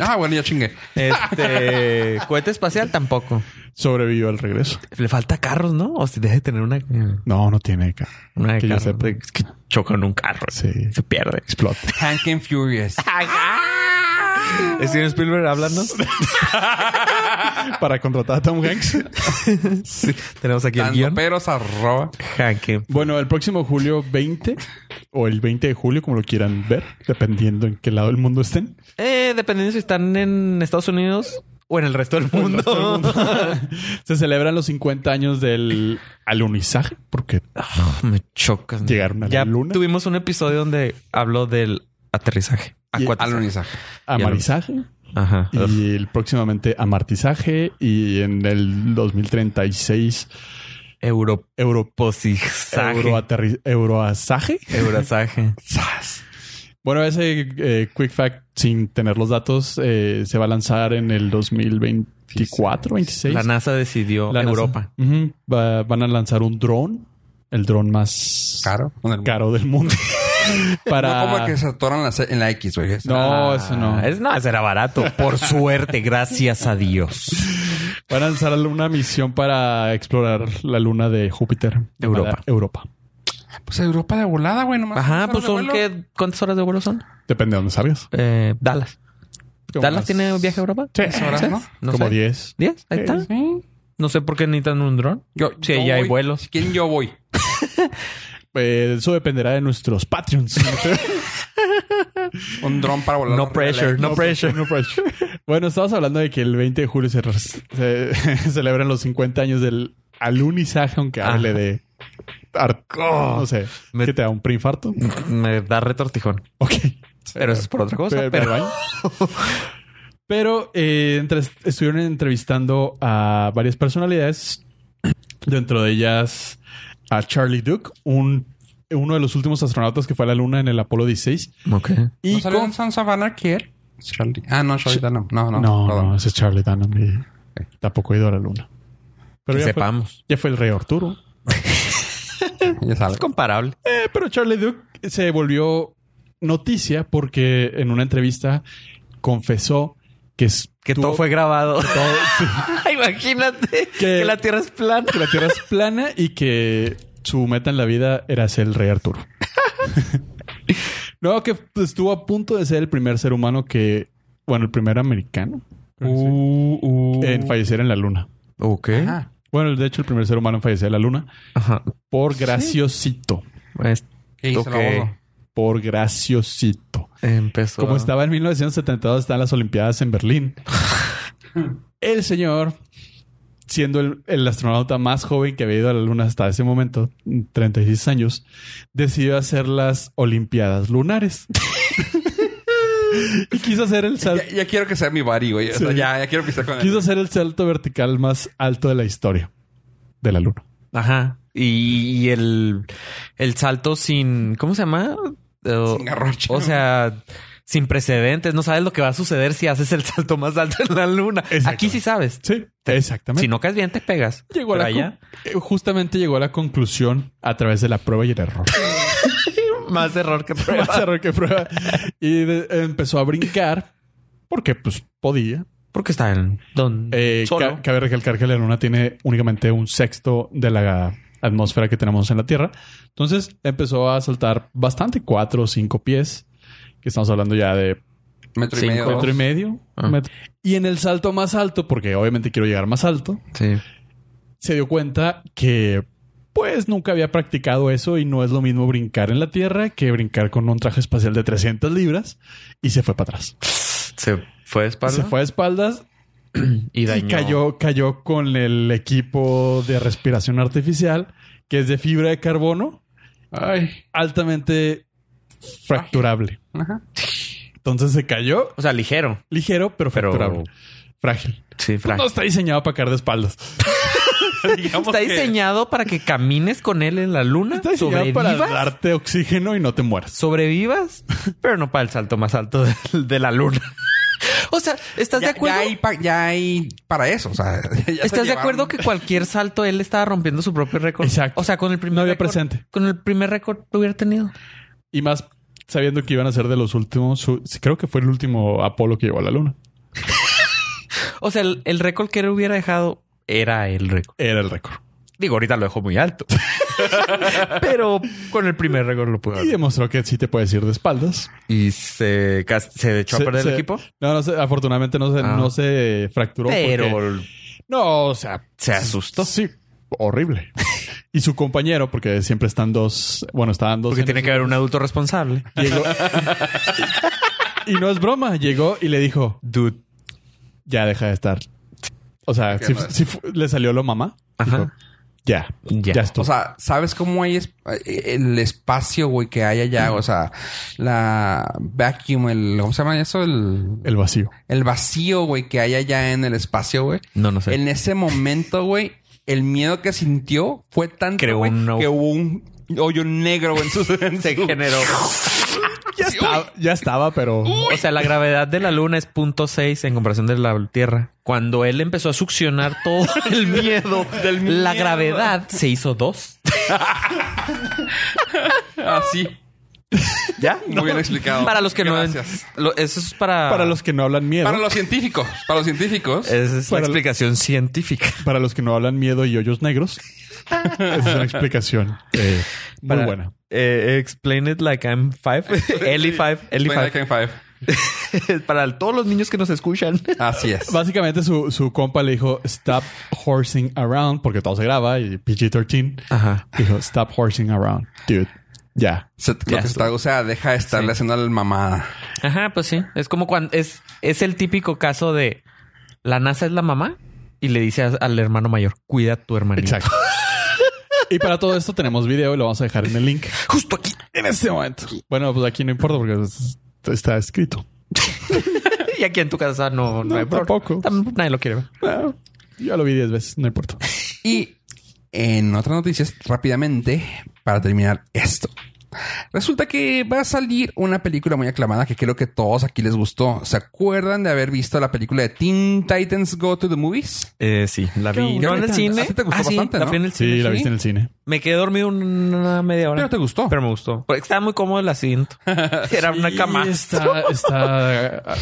A: Ah, bueno, ya chingué.
C: Este cohete espacial tampoco.
D: Sobrevivió al regreso.
C: Le falta carros, ¿no? O si deja de tener una,
D: No, no tiene. ca-
C: una de
D: Que yo
C: carro.
D: sepa.
C: Es que choca en un carro.
D: Sí.
C: Se pierde.
D: Explota.
A: Hank and Furious.
C: Steven Spielberg, háblanos.
D: Para contratar a Tom Hanks.
C: Sí, Tenemos aquí el guión.
A: Tandoperos arroba.
C: Hank.
D: Bueno, el próximo julio 20 o el 20 de julio, como lo quieran ver, dependiendo en qué lado del mundo estén.
C: Eh, dependiendo si están en Estados Unidos o en el resto del mundo.
D: Se celebran los 50 años del alunizaje, porque
C: Ah, Me chocas. man.
D: llegaron a
C: Ya
D: la luna.
C: tuvimos un episodio donde habló del aterrizaje.
D: Y-
C: Acuatizaje.
A: Alunizaje.
D: Amarizaje.
C: Ajá.
D: Y el próximamente amartizaje. Y en el 2036,
C: Euro... Europosizaje.
D: euroaterri- euroasaje.
C: Eurosaje.
D: Bueno, ese eh, Quick Fact, sin tener los datos, eh, se va a lanzar en el 2024, 26.
C: La NASA decidió
D: La NASA.
C: Europa.
D: Ujú. Va- van a lanzar un dron, el dron más
A: Caro.
D: caro del mundo. para...
A: No como que se atoran las- E en la X, güey.
D: No,
C: Ah,
D: eso no.
C: Es, no, será barato. Por suerte, gracias a Dios.
D: Van a lanzar una misión para explorar la luna de Júpiter.
C: Europa.
D: Llamada Europa.
A: Pues Europa de volada, güey. Nomás
C: Ajá,
A: pasaron
C: pues
A: de
C: son
A: vuelo.
C: que ¿cuántas horas de vuelo son?
D: Depende de dónde sabías.
C: Eh, Dallas.
D: Como
C: ¿Dallas
D: unas-
C: tiene viaje a Europa?
D: Sí,
A: Tres horas, ¿no?
C: No
D: como
C: sé.
D: 10.
C: ¿Diez? Ahí está.
A: Sí.
C: No sé por qué necesitan un dron.
A: Yo,
C: Sí,
A: yo
C: ya hay
A: voy.
C: vuelos.
A: Si quieren, yo voy.
D: Eh, eso dependerá de nuestros Patreons.
A: Un dron para volar.
C: No pressure, no pressure.
D: No pressure. Bueno, estabas hablando de que el 20 de julio se, se- celebran los 50 años del alunizaje, aunque
C: Ajá. Oh.
D: hable de... ar- no sé.
C: Me-
D: ¿Qué te da? ¿Un preinfarto?
C: Me da retortijón.
D: Ok.
C: Pero eso es por otra cosa.
D: Pero,
C: pero-
D: pero, eh, entre- estuvieron entrevistando a varias personalidades, dentro de ellas a Charlie Duke, un, uno de los últimos astronautas que fue a la Luna en el Apolo 16.
C: Ok.
D: Y
A: ¿No salió
D: con-
A: en Sons of Anarchy, él? Charlie. Ah, no, Charlie Dunham. No, no.
D: No, no,
A: perdón.
D: ese es Charlie Dunham. y Tampoco ha ido a la luna. Pero
C: que
D: ya
C: sepamos.
D: Fue, ya fue el rey Arturo.
A: Ya sabes.
C: Es comparable.
D: Eh, pero Charlie Duke se volvió noticia porque en una entrevista confesó que, es-
C: Que
D: tuvo-
C: todo fue grabado.
D: todo- sí,
C: Imagínate que,
D: Que-
C: la Tierra es plana.
D: que la Tierra es plana y que su meta en la vida era ser el rey Arturo. no, que estuvo a punto de ser el primer ser humano que, bueno, el primer americano creo que sí, en fallecer en la luna.
C: Ok.
A: Ah,
D: Bueno, de hecho, el primer ser humano en fallecer en la luna
C: Ajá.
D: por graciosito.
C: Pues,
A: ¿qué hizo
C: Ok.
A: la voz?
D: por graciosito.
C: empezó.
D: Como estaba en 1972, están las Olimpiadas en Berlín. el señor, siendo el, el astronauta más joven que había ido a la Luna hasta ese momento, 36 años, decidió hacer las Olimpiadas lunares. y quiso hacer el salto.
A: Ya, ya quiero que sea mi body, güey. O sea,
D: Sí.
A: ya, ya quiero que sea con él.
D: Quiso hacer el salto vertical más alto de la historia de la luna.
C: Ajá. Y, y el, el salto sin. ¿Cómo se llama? Eh,
A: Sin garrocha.
C: O sea, sin precedentes. No sabes lo que va a suceder si haces el salto más alto en la luna.
D: Exacto.
C: Aquí sí sabes.
D: Sí, exactamente.
C: Si no caes bien, te pegas.
D: Llegó a
C: Pero
D: la
C: allá,
D: con- eh, justamente llegó a la conclusión a través de la prueba y el error.
C: más error que prueba.
D: Más error que prueba. Y de- empezó a brincar porque pues podía.
C: Porque está en don
D: Eh,
C: solo.
D: ca- cabe recalcar que la luna tiene únicamente un sexto de la atmósfera que tenemos en la Tierra. Entonces empezó a saltar bastante, cuatro o cinco pies, que estamos hablando ya de
A: metro y
C: cinco,
A: medio. dos.
D: metro y medio.
C: Ah.
D: metro. Y en el salto más alto, porque obviamente quiero llegar más alto,
C: Sí.
D: se dio cuenta que pues nunca había practicado eso y no es lo mismo brincar en la Tierra que brincar con un traje espacial de 300 libras y se fue para atrás.
C: Se fue de espalda.
D: Se fue a espaldas
C: y
D: y,
C: dañó.
D: cayó, cayó con el equipo de respiración artificial que es de fibra de carbono
A: Ay.
D: altamente fracturable.
A: Ajá.
D: Entonces se cayó
C: O sea, ligero.
D: ligero pero
C: Pero-
D: fracturable. Frágil.
A: Pues
C: Sí,
D: No está diseñado para caer de espaldas.
C: Está diseñado para que camines con él en la luna.
D: Está diseñado para
C: sobrevivas,
D: darte oxígeno y no te mueras.
C: Sobrevivas, pero no para el salto más alto de, de la luna. O sea, ¿estás
A: Ya,
C: de acuerdo?
A: ya hay pa- ya hay para eso. O sea, ya se
C: ¿Estás de
A: llevaron-
C: acuerdo que cualquier salto él estaba rompiendo su propio récord?
D: Exacto.
C: O sea, con el primer
D: No había
C: récord-
D: presente.
C: Con el primer récord que hubiera tenido.
D: Y más sabiendo que iban a ser de los últimos. su- Creo que fue el último Apolo que llegó a la luna.
C: O sea, el, el récord que él hubiera dejado era el récord.
D: Era el récord.
C: Digo, ahorita lo dejo muy alto. pero con el primer récord lo pudo. haber
D: Y demostró que sí te puedes ir de espaldas.
C: y se, cas- se echó
D: Se-
C: a perder
D: se-
C: el equipo.
D: No, no se- afortunadamente no se,
C: Ah.
D: no se fracturó. porque-
C: Pero
D: no, o sea,
C: se asustó.
D: Sí, horrible. y su compañero, porque siempre están dos. Bueno, estaban dos.
C: Porque
D: en
C: tiene
D: el-
C: que haber un adulto responsable.
D: Llegó. y no es broma. Llegó y le dijo:
C: Dude,
D: ya deja de estar. O sea,
A: ¿Qué
D: si,
A: más?
D: si fu- le salió lo mamá,
C: Ajá.
D: ya,
C: Ya.
D: ya,
A: O
D: estuvo.
A: sea, ¿sabes cómo hay es- el espacio, güey, que hay allá? O sea, la vacuum, el... ¿Cómo se llama eso? El,
D: el vacío.
A: el vacío, güey, que hay allá en el espacio, güey.
C: No, no sé.
A: En ese momento, güey, el miedo que sintió fue tanto,
C: Creó
A: güey,
C: un no-
A: que hubo un hoyo negro güey, en su... en
C: Se
A: su-
C: generó.
D: Ya estaba, ya estaba, pero
C: O sea, la gravedad de la luna es 0.6 en comparación de la Tierra. Cuando él empezó a succionar todo el miedo, la gravedad se hizo 2.
A: Así.
C: ¿Ya?
A: Muy bien explicado.
C: Para los que
A: Gracias.
C: no... lo- eso es para...
D: para los que no hablan miedo,
A: Para los científicos. Para los científicos.
C: Esa es
D: Para-
C: la explicación científica.
D: para los que no hablan miedo y hoyos negros, esa es una explicación eh, muy
C: Para-
D: buena.
C: Eh, explain it like I'm five. Eli five. Eli
A: Bueno,
C: five.
A: Tekken Five.
C: para todos los niños que nos escuchan.
A: Así es.
D: Básicamente su, su compa le dijo stop horsing around porque todo se graba y PG-13
C: Ajá.
D: dijo stop horsing around, dude. Ya.
A: Se- lo que
C: Ya
A: se
C: estuvo.
A: está- o sea, deja de estarle haciendo la mamada.
C: Ajá, pues sí. Es como cuando es, es el típico caso de la NASA es la mamá y le dice a- al hermano mayor, cuida a tu hermanito.
D: Exacto. y para todo esto tenemos video y lo vamos a dejar en el link.
C: Justo aquí.
D: En este momento. Bueno, pues aquí no importa porque es- está escrito.
C: Y aquí en tu casa no, no,
D: No,
C: hay problema.
D: tampoco.
C: Tam- nadie lo quiere ver.
D: Ah, Yo lo vi 10 veces, no importa.
A: Y en otras noticias, rápidamente, para terminar esto. Resulta que va a salir una película muy aclamada que creo que todos aquí les gustó. ¿Se acuerdan de haber visto la película de Teen Titans Go to the Movies?
C: sí, la
A: vi-
C: No en el cine. Ah,
A: ¿A ti te gustó
C: sí,
A: bastante,
C: la
A: no?
C: vi en el cine.
D: Sí, la
A: sí.
D: viste en el cine.
C: Me quedé dormido una media hora.
A: Pero te gustó.
C: Pero me gustó. Porque estaba muy cómodo el asiento. Era una cama.
D: Y Está, está ah,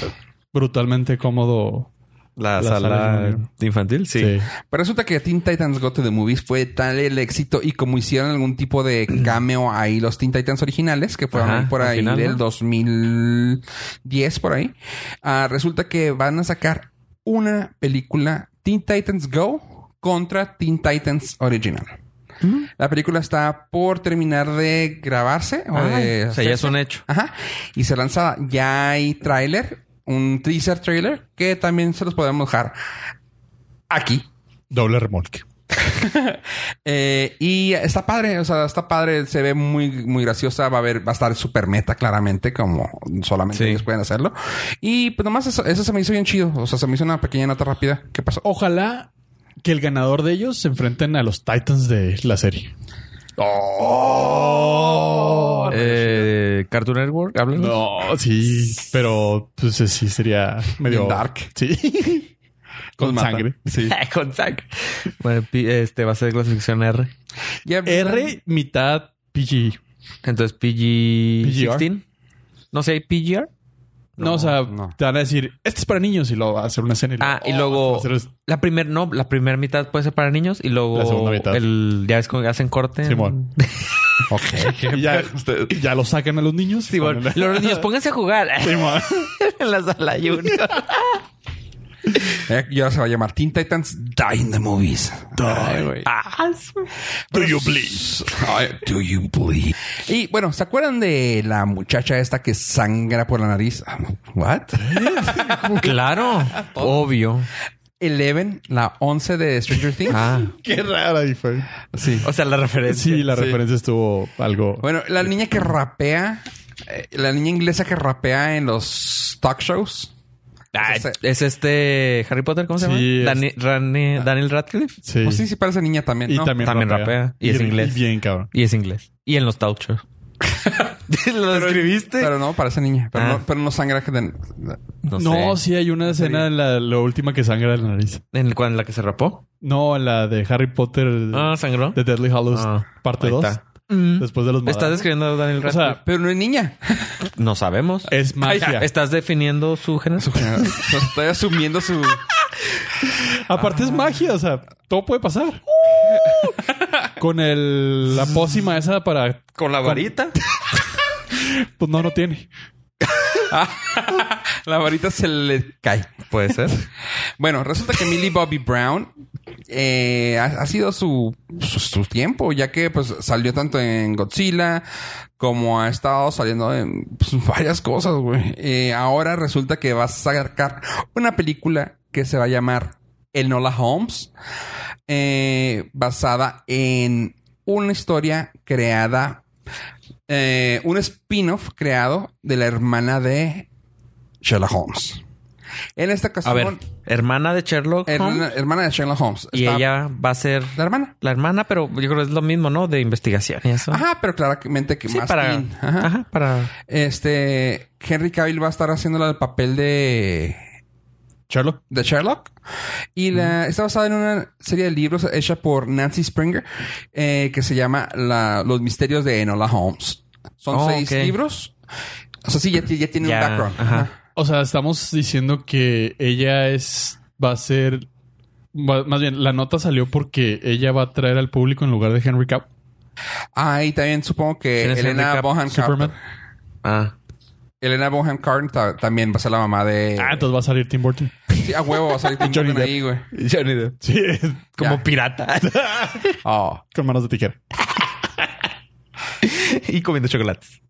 D: brutalmente cómodo.
C: La,
D: sala
C: infantil,
D: Sí.
A: Pero resulta que Teen Titans Go to the Movies fue tal el éxito y como hicieron algún tipo de cameo ahí los Teen Titans originales, que fueron
C: Ajá,
A: ahí por
C: al
A: ahí
C: final,
A: del
C: ¿no?
A: 2010 por ahí, ah, resulta que van a sacar una película Teen Titans Go contra Teen Titans Original.
C: Mm.
A: La película está por terminar de grabarse. O,
C: Ay,
A: de
C: o sea, ya es
A: hacerse.
C: un hecho.
A: Ajá. Y se lanza, ya hay tráiler, un teaser trailer que también se los podemos dejar aquí.
D: Doble remolque.
A: Eh, y está padre, o sea, está padre, se ve muy, muy graciosa, va a haber, va a estar super meta claramente, como solamente
C: Sí.
A: ellos pueden hacerlo. Y pues nomás eso, eso se me hizo bien chido, o sea, se me hizo una pequeña nota rápida. ¿Qué pasó?
D: Ojalá que el ganador de ellos se enfrenten a los Titans de la serie.
C: Oh. Eh, Cartoon Network, háblenos.
D: No, sí, pero pues sí sería medio
A: Bien dark.
D: Sí. Con
A: Nos mata.
D: sangre. Sí.
C: Con sac. Bueno, pi- este va a ser clasificación R.
A: Ya-
D: R mitad PG.
C: Entonces PG-16. No sé, PGR.
D: No, o sea,
A: no.
D: te van a decir, este es para niños y luego va a hacer una escena. Y
C: Ah, y
D: oh,
C: luego
D: va a hacer-
C: la primera, no, la primera mitad puede ser para niños y luego
D: La segunda mitad.
C: el ya ves cómo hacen corte. en-
D: Simón. y ya, ya lo sacan a los niños.
C: Simón.
D: Ponen-
C: Los niños, pónganse a jugar
D: Simón.
C: en la sala junior.
A: eh, y ahora se va a llamar Teen Titans Die in the Movies.
C: Ah, su-
B: Do you please?
A: Ay, do you believe? Y bueno, ¿se acuerdan de la muchacha esta que sangra por la nariz? Ah, What?
C: claro, obvio.
A: Eleven, la 11 de Stranger Things.
C: Ah,
D: Qué rara y fue.
A: sí.
C: o sea, la referencia.
D: Sí, la referencia estuvo algo.
A: Bueno, la niña que rapea, eh, la niña inglesa que rapea en los talk shows.
C: Ah,
A: O sea,
C: es este Harry Potter, ¿cómo se
D: Sí,
C: llama?
D: es- Ah.
C: Dani- Rani- Daniel Radcliffe.
D: Sí.
A: Pues sí, sí parece niña también,
D: y
A: ¿no?
D: también,
C: también rapea. Y es inglés.
D: bien, cabrón.
C: Y es inglés. Y en los talk shows. ¿Lo describiste?
A: Pero no, parece niña. Pero,
C: Ah.
A: no, pero no sangra que... de-
C: no,
D: No,
C: sé.
D: sí hay una escena, la, la última que sangra de la nariz.
C: ¿En, cuál, en la que se rapó?
D: No, la de Harry Potter
C: Ah, sangró.
D: de Deadly Hallows,
C: Ah,
D: parte
C: ahí
D: 2.
C: está.
D: Después de los
C: Mm. ¿Estás
D: madrazos.
C: describiendo a Daniel
D: O
C: Radcliffe?
D: sea,
A: Pero no es niña.
C: no sabemos.
D: es magia.
C: ¿Estás definiendo su género?
A: Estoy asumiendo su...
D: Aparte
C: Ah.
D: es magia, o sea, todo puede pasar.
C: Uh.
D: Con el, la pócima esa para...
C: ¿Con la varita?
D: Pues no, no tiene.
A: La varita se le cae.
C: Puede ser.
A: Bueno, resulta que Millie Bobby Brown eh, ha, ha sido su, su, su tiempo, ya que pues salió tanto en Godzilla como ha estado saliendo en pues, varias cosas, güey. Eh, ahora resulta que va a sacar una película que se va a llamar Enola Holmes, eh, basada en una historia creada, eh, un spin-off creado de la hermana de Sherlock Holmes. En esta ocasión,
C: A ver, hermana de Sherlock
A: hermana,
C: Holmes,
A: hermana de Sherlock Holmes.
C: y
A: Está-
C: ella va a ser
A: La hermana.
C: la hermana, pero yo creo que es lo mismo, ¿no? De investigación y eso.
A: Ajá, pero claramente que
C: Sí,
A: más
C: para,
A: teen. Ajá.
C: ajá, para
A: Este Henry Cavill va a estar haciendo el papel de
D: Charlo.
A: de Sherlock y
C: Mm.
A: la, está basada en una serie de libros hecha por Nancy Springer eh, que se llama la- Los misterios de Enola Holmes. Son
C: Oh,
A: seis
C: ok.
A: libros. O sea, sí, ya, ti- ya tiene
C: Ya,
A: un background.
C: ajá.
A: Ajá.
D: O sea, estamos diciendo que ella es. Va a ser. va- más bien, la nota salió porque ella va a traer al público en lugar de Henry Cavill.
A: Ah, y también supongo que
C: ¿Quién es
A: Elena
C: Henry Cap-
A: Bonham
D: Superman.
A: Carter.
E: Ah.
A: Elena Bonham Carter ta- también va a ser la mamá
C: Eh.
A: de.
D: Ah, entonces va a salir Tim Burton.
A: Sí, a huevo va a salir Tim
D: Johnny
A: Burton ahí, güey.
D: Sí,
A: como
C: pirata
A: Oh.
D: con manos de tijera.
C: y comiendo chocolates.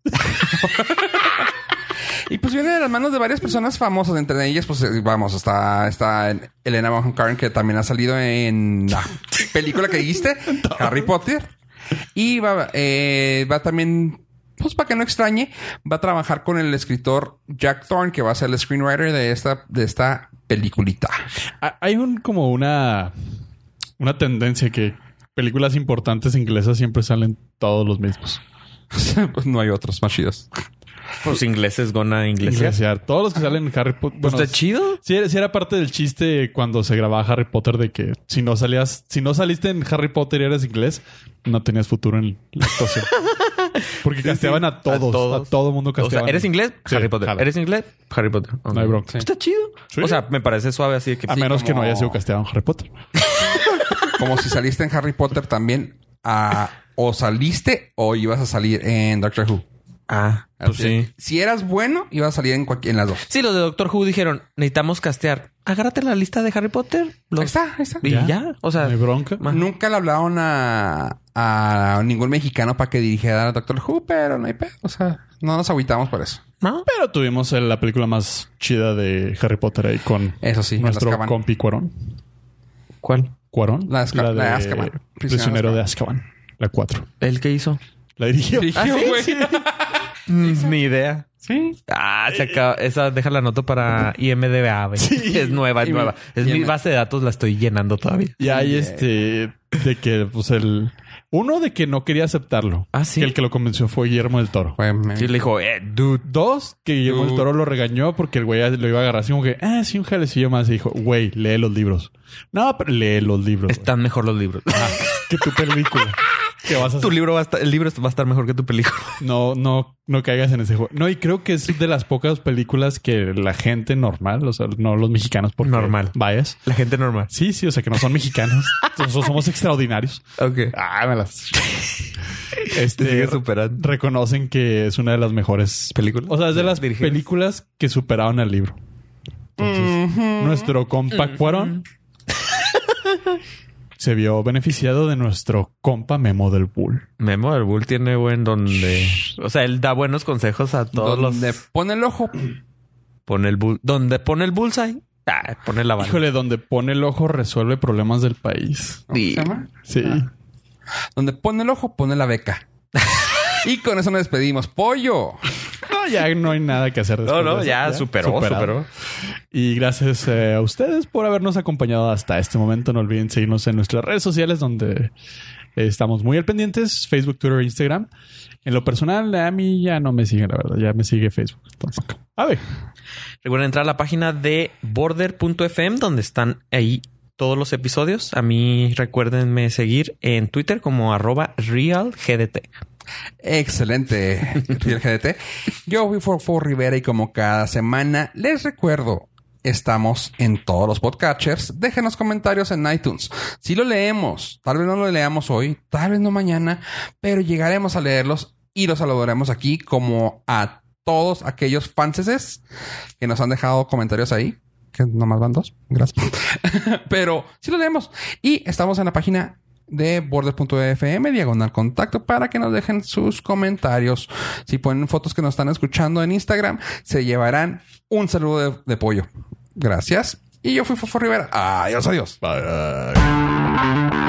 A: Y pues viene de las manos de varias personas famosas, entre ellas, pues eh, vamos, está, está Elena Bonham Carter, que también ha salido en la película que dijiste, Harry Potter. Y va, eh, va también, pues para que no extrañe, va a trabajar con el escritor Jack Thorne, que va a ser el screenwriter de esta, de esta peliculita.
D: Ha- Ah, Hay un como una. Una tendencia que películas importantes inglesas siempre salen todos los mismos.
A: pues no hay otros más chidos.
C: Pues ingleses gona ingleses.
D: Inglesear. Todos los que salen en Harry Potter.
C: Pues
D: bueno,
C: está chido.
D: Sí, era- sí era parte del chiste cuando se grababa Harry Potter de que si no salías, si no saliste en Harry Potter y eras inglés, no tenías futuro en la actuación. Porque casteaban a todos, a,
C: a todos.
D: todo mundo
C: O sea,
D: casteaban.
C: eres inglés,
D: Sí,
C: Harry Potter.
D: jala.
C: Eres inglés, Harry Potter. Ok.
D: No hay bronca.
A: Sí.
C: Está chido.
D: Sí.
C: O sea, me parece suave así de que
D: A
A: Sí,
D: menos que no
A: como-
D: haya sido casteado en Harry Potter.
A: Como si saliste en Harry Potter también, ah, o saliste o ibas a salir en Doctor Who.
C: Ah, pues
A: Así es.
C: sí.
A: Si eras bueno, ibas a salir en, cualquier- en las dos.
C: Sí, los de Doctor Who dijeron, necesitamos castear. Agárrate la lista de Harry Potter. los-
A: Ahí está, ahí está.
C: Y ya, o sea,
D: No hay bronca.
C: ma-
A: Nunca le hablaron a, a ningún mexicano para que dirigiera a Doctor Who, pero no hay pedo. O sea, no nos agüitamos por eso.
C: ¿no?
D: Pero tuvimos el- la película más chida de Harry Potter ahí con
A: Eso sí,
D: nuestro
A: el Azkaban.
D: compi Cuarón.
C: ¿Cuál?
D: Cuarón.
A: La de Azka- la de Azkaban.
D: Prisionero de Azkaban. La 4.
C: ¿El que hizo?
D: La
C: ¿Ah,
D: dirigió.
C: Mm, Ni idea. Sí. Ah, se acaba. Esa deja la nota para IMDBA. güey. Es nueva, es
A: Y-
C: nueva. Es
A: y-
C: mi base de datos, la estoy llenando todavía.
D: Y hay este de que, pues, el uno de que no quería aceptarlo.
C: Ah, sí.
D: Que el que lo convenció fue Guillermo del Toro.
A: Fue- me-
C: Sí, le dijo, eh, dude.
D: Dos, que Guillermo del
A: Tú.
D: Toro lo regañó porque el güey lo iba a agarrar así como que, ah, sí, un jalecillo más. Y dijo, güey, lee los libros. No, pero lee los libros. güey.
C: Están mejor los libros.
D: Ah, que tu película. que vas a
C: tu
D: hacer.
C: libro va a estar, el libro va a estar mejor que tu película.
D: No, no, no caigas en ese juego. No, y creo que es de las pocas películas que la gente normal, o sea, no los mexicanos porque
C: Normal.
D: vayas.
C: La gente normal.
D: Sí, sí, o sea, que no son mexicanos. Nosotros somos extraordinarios.
C: Ok.
D: Ah, me las.
C: Te sigue
D: Este,
C: superando.
D: reconocen que es una de las mejores películas. O sea, es de las
C: Dirigidas.
D: películas que superaron al libro. Entonces,
A: Mm.
D: nuestro compa Cuarón se vio beneficiado de nuestro compa Memo del Bull.
C: Memo del Bull tiene buen donde. O sea, él da buenos consejos a todos
A: Donde
C: los.
A: pone el ojo.
C: Pone el bull. Donde pone el bullseye. Ah, pone la bala.
D: Híjole, donde pone el ojo resuelve problemas del país.
A: ¿cómo se llama?
D: Sí.
A: Donde pone el ojo, pone la beca. y con eso nos despedimos. ¡Pollo!
D: No, ya no hay nada que hacer.
C: No,
D: después
C: no,
D: de eso.
C: ya, superó,
D: superado.
C: superó.
D: Y gracias eh, a ustedes por habernos acompañado hasta este momento. No olviden seguirnos en nuestras redes sociales donde eh, estamos muy al pendientes. Facebook, Twitter, Instagram. En lo personal, a mí ya no me sigue, la verdad. Ya me sigue Facebook. Entonces, a ver.
C: Recuerden entrar a la página de border.fm donde están ahí todos los episodios. A mí recuérdenme seguir en Twitter como arroba realgdt.
A: Excelente, Riel GDT. Yo fui Forfo Rivera y como cada semana les recuerdo, estamos en todos los podcatchers. Déjenos comentarios en iTunes. Si lo leemos, tal vez no lo leamos hoy, tal vez no mañana, pero llegaremos a leerlos y los saludaremos aquí como a todos aquellos fanses que nos han dejado comentarios ahí. Que nomás van dos. Gracias. Pero sí lo leemos. Y estamos en la página de border.fm diagonal contacto para que nos dejen sus comentarios. Si ponen fotos que nos están escuchando en Instagram, se llevarán un saludo de, de pollo. Gracias. Y yo fui Fofo Rivera. Adiós, adiós.
D: Bye.